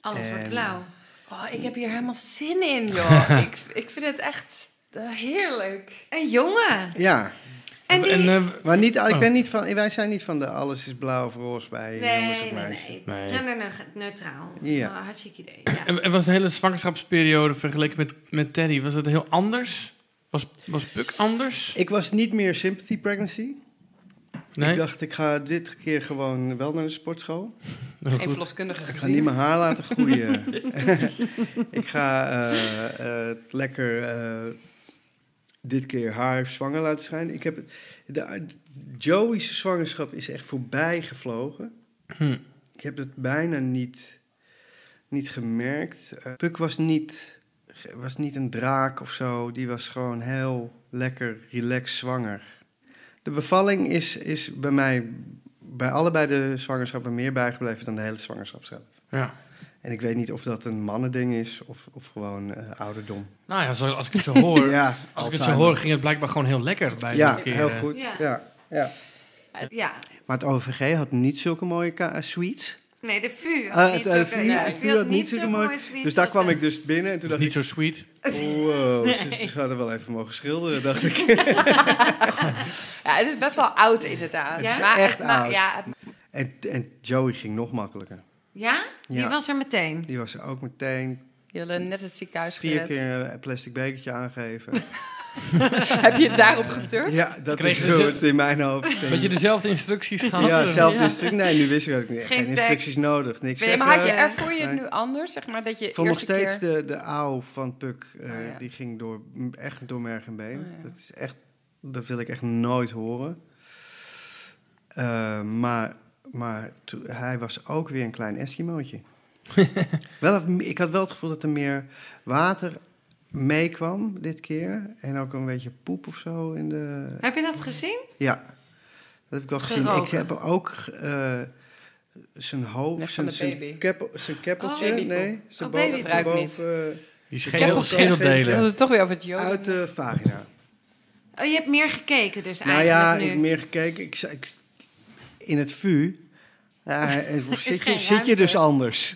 alles wordt
En-
blauw.
Oh, ik heb hier helemaal zin in, joh. ik, ik vind het echt eh, heerlijk.
Een jongen!
Ja,
En die...
En, eh,
maar niet, ik
Oh.
ben niet van, wij zijn niet van de alles is blauw of roze bij
nee,
jongens
nee,
of meisjes.
nee,
Nee.
Gender neg- neutraal.
Ja.
Oh, hartstikke idee. Ja.
en, en was de hele zwangerschapsperiode vergeleken met, met Teddy, was dat heel anders? Was, was Puk anders?
Ik was niet meer sympathy pregnancy. Ik
Nee?
dacht, ik ga dit keer gewoon wel naar de sportschool.
Heel
Geen
goed.
verloskundige
Ik ga niet
gezien.
mijn haar laten groeien. ik ga eh, eh, lekker eh, dit keer haar zwanger laten schijnen. Ik heb, het- de, Joey's zwangerschap is echt voorbij gevlogen.
Hm.
Ik heb dat bijna niet, niet gemerkt. Eh, Puk was niet, was niet een draak of zo. Die was gewoon heel lekker, relaxed zwanger. De bevalling is, is bij mij bij allebei de zwangerschappen meer bijgebleven dan de hele zwangerschap zelf.
Ja.
En ik weet niet of dat een mannending is of, of gewoon eh, ouderdom.
Nou ja, zo- als ik het zo hoor,
ja,
als ik het zo
Alzheimer.
hoor, ging het blijkbaar gewoon heel lekker bij
Ja,
die keren.
heel goed.
Ja.
Ja. Ja,
Ja,
Maar het OVG had niet zulke mooie ka- eh, suites.
nee, de vuur.
Ah,
niet
het,
zo
eh, vuur-
nee,
het
de
vuur had niet zulke mooie-
sweets
Dus daar
als
kwam
de-
ik dus binnen en toen
Dus
dacht ik,
niet zo sweet.
wow, ze, ze hadden wel even mogen schilderen, dacht ik.
Ja, het is best wel oud inderdaad.
Het is
Maar
echt
ma-
oud.
Ja, het-
En, en Joey ging nog makkelijker.
Ja? Die
dus- Ja.
was er meteen.
Die was er ook meteen
jullie net het ziekenhuis
vier
gered.
keer een plastic bekertje aangeven.
Heb je het daarop geturfd?
ja, dat
Kregen
is
ze-
zo het in mijn hoofd.
Dat dus je dezelfde instructies gehad.
Ja,
eh,
zelfde instructies. Nee, nu wist ik dat ik niet.
Geen
Geen,
tekst.
instructies nodig, niks
Nee, maar had je,
zeggen.
ervoor je het
eh, Nee.
nu anders? Zeg maar dat je
Ik vond nog
eerste
steeds
keer...
de, de auw van Puk, eh,
Oh, ja.
die ging door, m- echt door merg en been.
Oh, ja.
Dat is echt, dat wil ik echt nooit horen. Eh, maar maar toe- hij was ook weer een klein Eskimootje. wel, een- ik had wel het gevoel dat er meer water meekwam dit keer. En ook een beetje poep of zo in de...
Heb je dat gezien?
Ja, dat heb ik wel gezien. Ik
Geroken.
heb ook eh, zijn
Net
hoofd,
van
zijn,
de
zijn,
baby.
keppel, zijn keppeltje,
Oh,
babypoep.
nee, zijn
Oh, baby.
boven-
Dat ruikt niet.
boven- eh,
Die
Keppel-
schedel, schedeldelen.
Dat is het toch weer over het joden.
uit de vagina.
Oh, je hebt meer gekeken dus
Nou
eigenlijk
ja,
nu.
ik heb meer gekeken. Ik, zei- ik- in het VU ja, en zit, je,
geen
zit je dus
ruimte.
anders.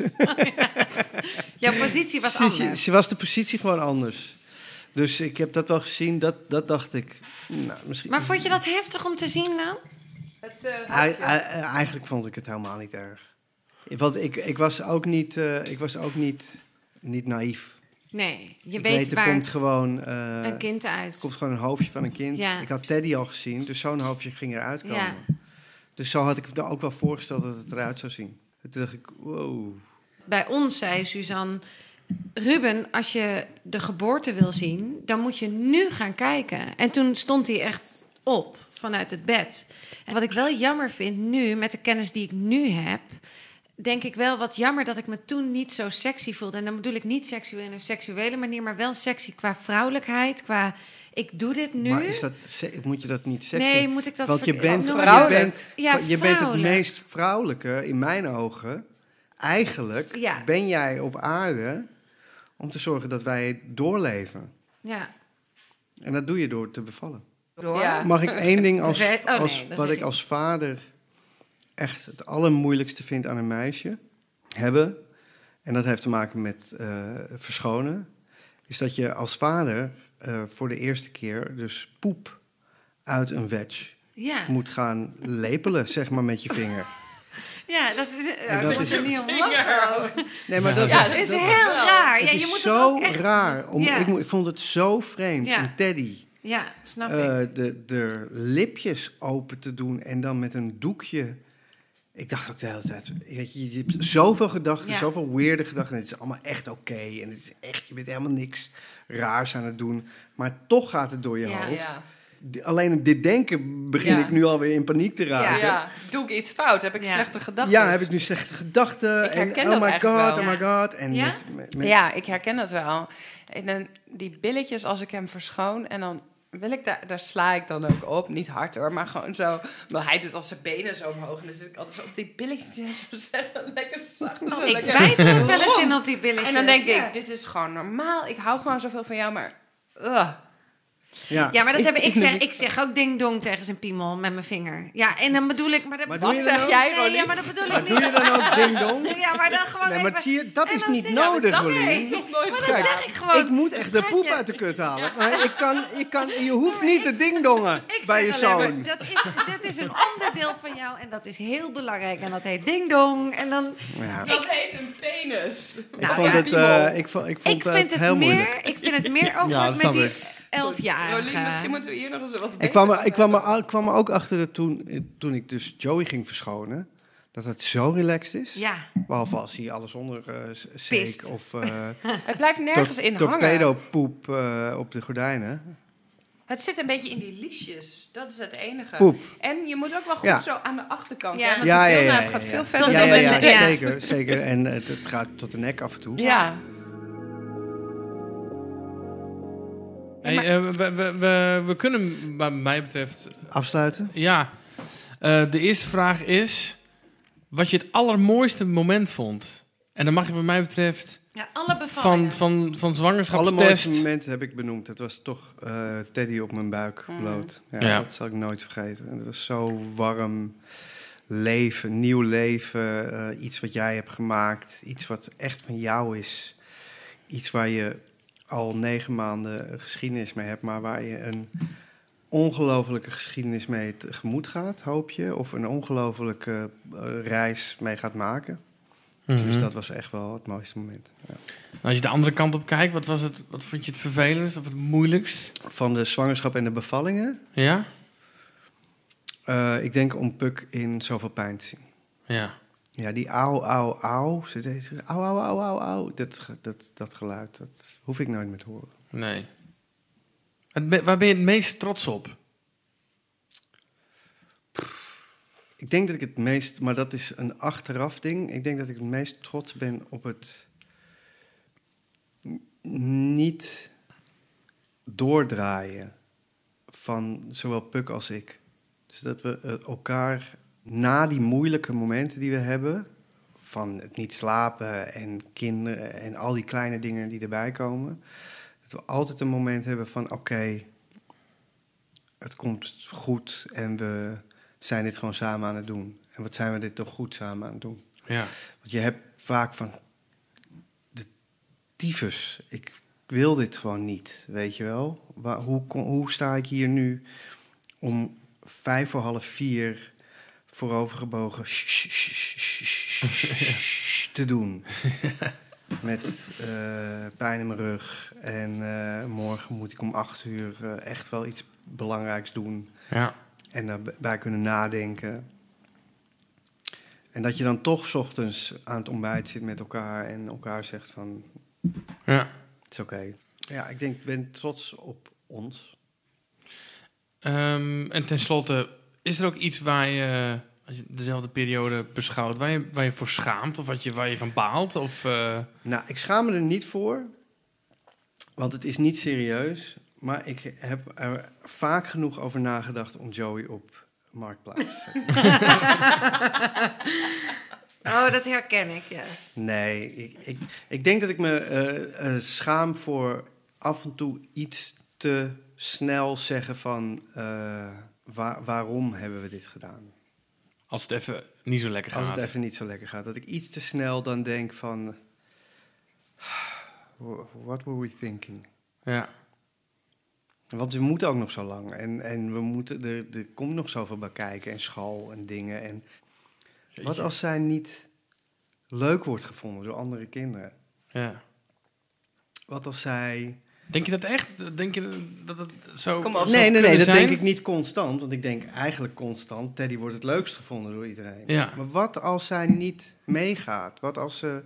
Jouw positie was
Zit je-
anders.
Ze was de positie gewoon anders. Dus ik heb dat wel gezien, dat, dat dacht ik. Nou, misschien,
Maar vond je dat heftig om te zien dan?
Het, eh,
Ei- ei- Eigenlijk vond ik het helemaal niet erg. Want ik, ik was ook niet, eh, ik was ook niet, niet naïef.
Nee, je
Ik
weet,
weet, er
waar
komt
het
gewoon, eh,
een kind
er
uit.
komt gewoon een hoofdje van een kind.
Ja.
Ik had Teddy al gezien, dus zo'n hoofdje ging eruit komen.
Ja.
Dus zo had ik me ook wel voorgesteld dat het eruit zou zien. En Toen dacht ik, wow.
Bij ons zei Suzanne... Ruben, als je de geboorte wil zien, dan moet je nu gaan kijken. En toen stond hij echt op vanuit het bed. En wat ik wel jammer vind nu, met de kennis die ik nu heb... denk ik wel wat jammer dat ik me toen niet zo sexy voelde. En dan bedoel ik niet sexy in een seksuele manier... maar wel sexy qua vrouwelijkheid, qua ik doe dit nu.
Maar is dat, se- moet je dat niet sexy?
Nee, moet ik dat
Want je
ver-
bent,
noemen?
je
Vrouwelijk.
bent,
Ja,
je bent het
vrouwelijk.
meest vrouwelijke, in mijn ogen. Eigenlijk
Ja.
ben jij op aarde om te zorgen dat wij doorleven.
Ja.
En dat doe je door te bevallen.
Ja.
Mag ik één ding als,
Wet- oh, nee,
als
dat
wat
zeg
ik
ik.
als vader echt het allermoeilijkste vind aan een meisje hebben, en dat heeft te maken met eh, verschonen, is dat je als vader eh, voor de eerste keer dus poep uit een wedge
Ja.
moet gaan lepelen, zeg maar met je vinger.
Ja, dat is,
En dat
dat is
is-
er niet om lachen ook.
Nee, maar dat
Ja,
Dat
dat
is
dat-
heel raar.
het
Ja, je
is
moet het
zo
ook echt...
raar. Om,
Ja.
ik, mo- ik vond het zo vreemd.
Ja.
En Teddy,
Ja, dat snap ik.
eh, de, de lipjes open te doen en dan met een doekje. Ik dacht ook de hele tijd, weet je, je hebt zoveel gedachten,
Ja.
zoveel weirde gedachten. En het is allemaal echt oké. En het is echt, je bent helemaal niks raars aan het doen. Maar toch gaat het door je
Ja.
hoofd.
Ja.
D- Alleen op dit denken begin
Ja.
ik nu alweer in paniek te
Ja.
raken. Ja,
Doe ik iets fout? Heb ik
Ja.
slechte gedachten?
dus.
heb ik nu slechte gedachten.
Ik herken
en
dat
oh my god,
eigenlijk wel.
oh my god. En
Ja?
met- met- met-
Ja, ik herken dat wel. En dan die billetjes, als ik hem verschoon en dan wil ik daar, daar sla ik dan ook op. Niet hard hoor, maar gewoon zo. Maar hij doet als zijn benen zo omhoog. En dan zit ik altijd zo op die billetjes die hij zo zeggen, lekker zacht. en zo
ik
lekker-
bijt er ook wel eens
Rond.
in op die billetjes.
En dan denk
Ja.
ik, dit is gewoon normaal. Ik hou gewoon zoveel van jou, maar... ugh.
Ja.
Ja, maar dat
Ik-
heb ik, ik, zeg, ik zeg ook ding-dong tegen zijn piemel met mijn vinger. Ja, en dan bedoel ik... Maar, dat,
Maar doe
Wat
je dan
zeg
ook?
jij,
Nee,
Ronnie?
ja, maar dat bedoel
Maar
ik
doe je
niet.
dan ook ding-dong?
Ja, maar dan gewoon
Nee,
even...
maar zie je, dat
en
is
dan
niet
zeg- ja,
nodig,
dat-
Rolien.
nee,
Nog nooit
Maar dan
gedaan.
zeg ik gewoon...
ik moet echt de poep
schatje.
uit de kut halen. Maar ik kan, ik kan, je hoeft niet te dingdongen
Ik
bij je
zeg alleen
zoon.
maar, dat is, dit is een onderdeel van jou en dat is heel belangrijk. En dat heet ding-dong. En dan...
Ja.
Dat heet een penis.
Ik
Nou,
vond
ja,
het,
piemel.
eh, ik vond, ik vond
Ik
het
vind het
heel moeilijk.
meer... Ik vind het meer ook
Ja, dat
met
snap
die
ik.
Rolien,
elfjarige...
misschien moeten we hier nog eens wat
Ik kwam er, ik kwam er, al- kwam er ook achter dat toen, eh, toen ik dus Joey ging verschonen, dat het zo relaxed is.
Ja.
Behalve als hij alles onder eh, s-
Pist.
zeek of eh,
Het blijft nergens
tor-
in hangen.
torpedopoep eh, op de gordijnen.
Het zit een beetje in die liesjes. Dat is het enige.
Poep.
En je moet ook wel goed
Ja.
zo aan de achterkant.
Ja.
Ja, want
Ja,
de
ja, ja,
deelnaad
ja,
gaat
ja.
veel
Tot
verder
Ja,
dan
ja,
alleen
ja,
de
de nek.
zeker, zeker. En het, het gaat tot de nek af en toe.
Ja.
Hey, eh, we, we, we, we kunnen, wat mij betreft,
Afsluiten.
ja. Eh, de eerste vraag is... Wat je het allermooiste moment vond? En dan mag je wat mij betreft...
Ja, alle bevallingen.
Van, van, van
Alle mooiste
zwangerschapstest...
momenten heb ik benoemd. Het was toch eh, Teddy op mijn buik
Mhm.
bloot. Ja,
Ja.
Dat zal ik nooit vergeten. En het was zo warm. Leven, nieuw leven. eh, iets wat jij hebt gemaakt. Iets wat echt van jou is. Iets waar je al negen maanden geschiedenis mee hebt, maar waar je een ongelofelijke geschiedenis mee tegemoet gaat, hoop je. Of een ongelofelijke eh, reis mee gaat maken.
Mhm.
Dus dat was echt wel het mooiste moment. Ja.
En Nou, Als je de andere kant op kijkt, wat, was het, wat vond je het vervelendst of het moeilijkst?
Van de zwangerschap en de bevallingen.
Ja?
Eh, ik denk om Puk in zoveel pijn te zien.
Ja.
Ja, die au, au, au. Ze deed ze- au, au, au, au, au. Dat, ge- dat, dat geluid, dat hoef ik nooit meer te horen.
Nee. Het me- waar ben je het meest trots op?
Ik denk dat ik het meest, maar dat is een achteraf ding. Ik denk dat ik het meest trots ben op het n- niet doordraaien van zowel Puk als ik. Dus dat we eh, elkaar na die moeilijke momenten die we hebben, van het niet slapen en kinderen en al die kleine dingen die erbij komen, dat we altijd een moment hebben van oké, het komt goed en we zijn dit gewoon samen aan het doen? En wat zijn we dit toch goed samen aan het doen?
Ja.
Want je hebt vaak van de tyfus. Ik wil dit gewoon niet, weet je wel? Wa- hoe, kon- hoe sta ik hier nu om vijf voor half vier voorovergebogen te doen? Met eh, pijn in mijn rug. En eh, morgen moet ik om acht uur eh, echt wel iets belangrijks doen
Ja.
en daarbij kunnen nadenken. En dat je dan toch 's ochtends aan het ontbijt zit met elkaar en elkaar zegt van,
ja.
het is oké. Ja, ik denk, ik ben trots op ons.
Ehm, en tenslotte, is er ook iets waar je, als je dezelfde periode beschouwt, waar je, waar je voor schaamt of wat je, waar je van baalt? Of, eh,
Nou, ik schaam me er niet voor, want het is niet serieus. Maar ik heb er vaak genoeg over nagedacht om Joey op Marktplaats te zetten.
Oh, dat herken ik, ja.
Nee, ik, ik, ik denk dat ik me eh, eh, schaam voor af en toe iets te snel zeggen van eh, wa- waarom hebben we dit gedaan.
als het even niet zo lekker gaat.
Als het even niet zo lekker gaat. Dat ik iets te snel dan denk van, what were we thinking?
Ja.
Want we moeten ook nog zo lang en, en we moeten, er, er komt nog zoveel bij kijken en school en dingen. En wat als zij niet leuk wordt gevonden door andere kinderen?
Ja.
Wat als zij
Denk je dat echt? Denk je dat het zo
Kom op.
zou
Nee, nee, nee,
kunnen
dat
zijn?
denk ik niet constant. Want ik denk eigenlijk constant, Teddy wordt het leukst gevonden door iedereen.
Ja.
Maar wat als zij niet meegaat? Wat als ze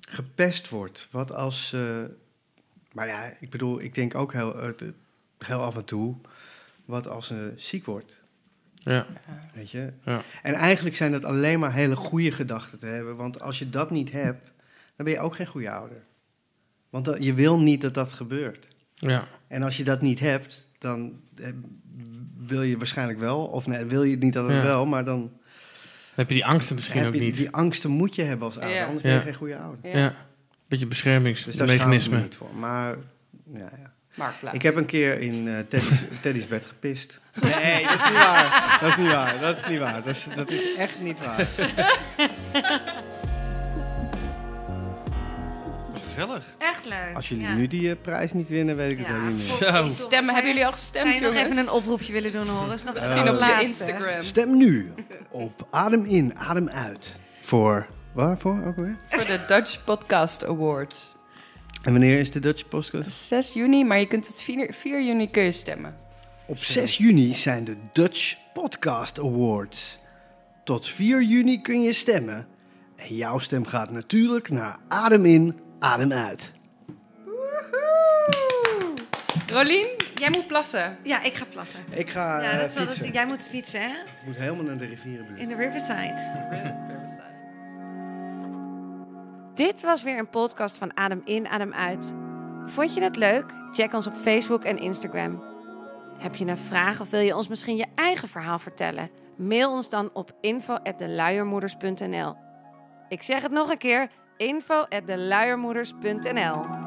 gepest wordt? Wat als ze... Maar ja, ik bedoel, ik denk ook heel, eh, te- heel af en toe... Wat als ze ziek wordt,
Ja.
weet je?
Ja.
En eigenlijk zijn dat alleen maar hele goede gedachten te hebben. Want als je dat niet hebt, dan ben je ook geen goede ouder. Want dat- je wil niet dat dat gebeurt.
Ja.
En als je dat niet hebt, dan eh, wil je waarschijnlijk wel. Of nee, wil je het niet dat het
Ja.
wel, maar dan
Dan heb je die angsten misschien
heb
ook
je die,
niet.
die angsten moet je hebben als ouder.
Ja.
Anders ben je
Ja.
geen goede ouder.
Ja.
Ja. Beetje
Dus daar schaam ik me
beschermingsmechanisme.
niet voor. Maar ja, ja.
Marktplaats.
ik heb een keer in eh, Teddy's, Teddy's bed gepist. Nee, dat is niet waar. Dat is niet waar. Dat is niet waar. Dat is, dat is echt niet waar.
Dat is gezellig.
Echt leuk.
Als jullie
ja.
nu die eh, prijs niet winnen, weet ik het
Ja,
helemaal niet
voor-
meer.
Zo.
Godverdomme,
Stemmen, hebben
zou je-
jullie al gestemd,
Zou je nog
jongens?
even een oproepje willen doen, Horus? Nog
Misschien
een
op je
laatste.
Instagram.
Stem nu op Adem in, Adem uit. Voor, waarvoor ook weer?
Voor de Dutch Podcast Awards.
En wanneer is de Dutch Postcode?
6 juni, maar je kunt het 4, 4 juni kun je stemmen.
Op 6 juni zijn de Dutch Podcast Awards. Tot 4 juni kun je stemmen. En jouw stem gaat natuurlijk naar Adem in, Adem uit.
Rolien, jij moet plassen.
Ja, ik ga plassen.
Ik ga
Ja,
eh,
dat zal
fietsen.
het, jij moet fietsen, hè?
Ik moet helemaal naar de rivierenbuurt.
In de Riverside. Dit was weer een podcast van Adem In, Adem Uit. Vond je het leuk? Check ons op Facebook en Instagram. Heb je een vraag of wil je ons misschien je eigen verhaal vertellen? Mail ons dan op info@deluiermoeders.nl. Ik zeg het nog een keer: info@deluiermoeders.nl.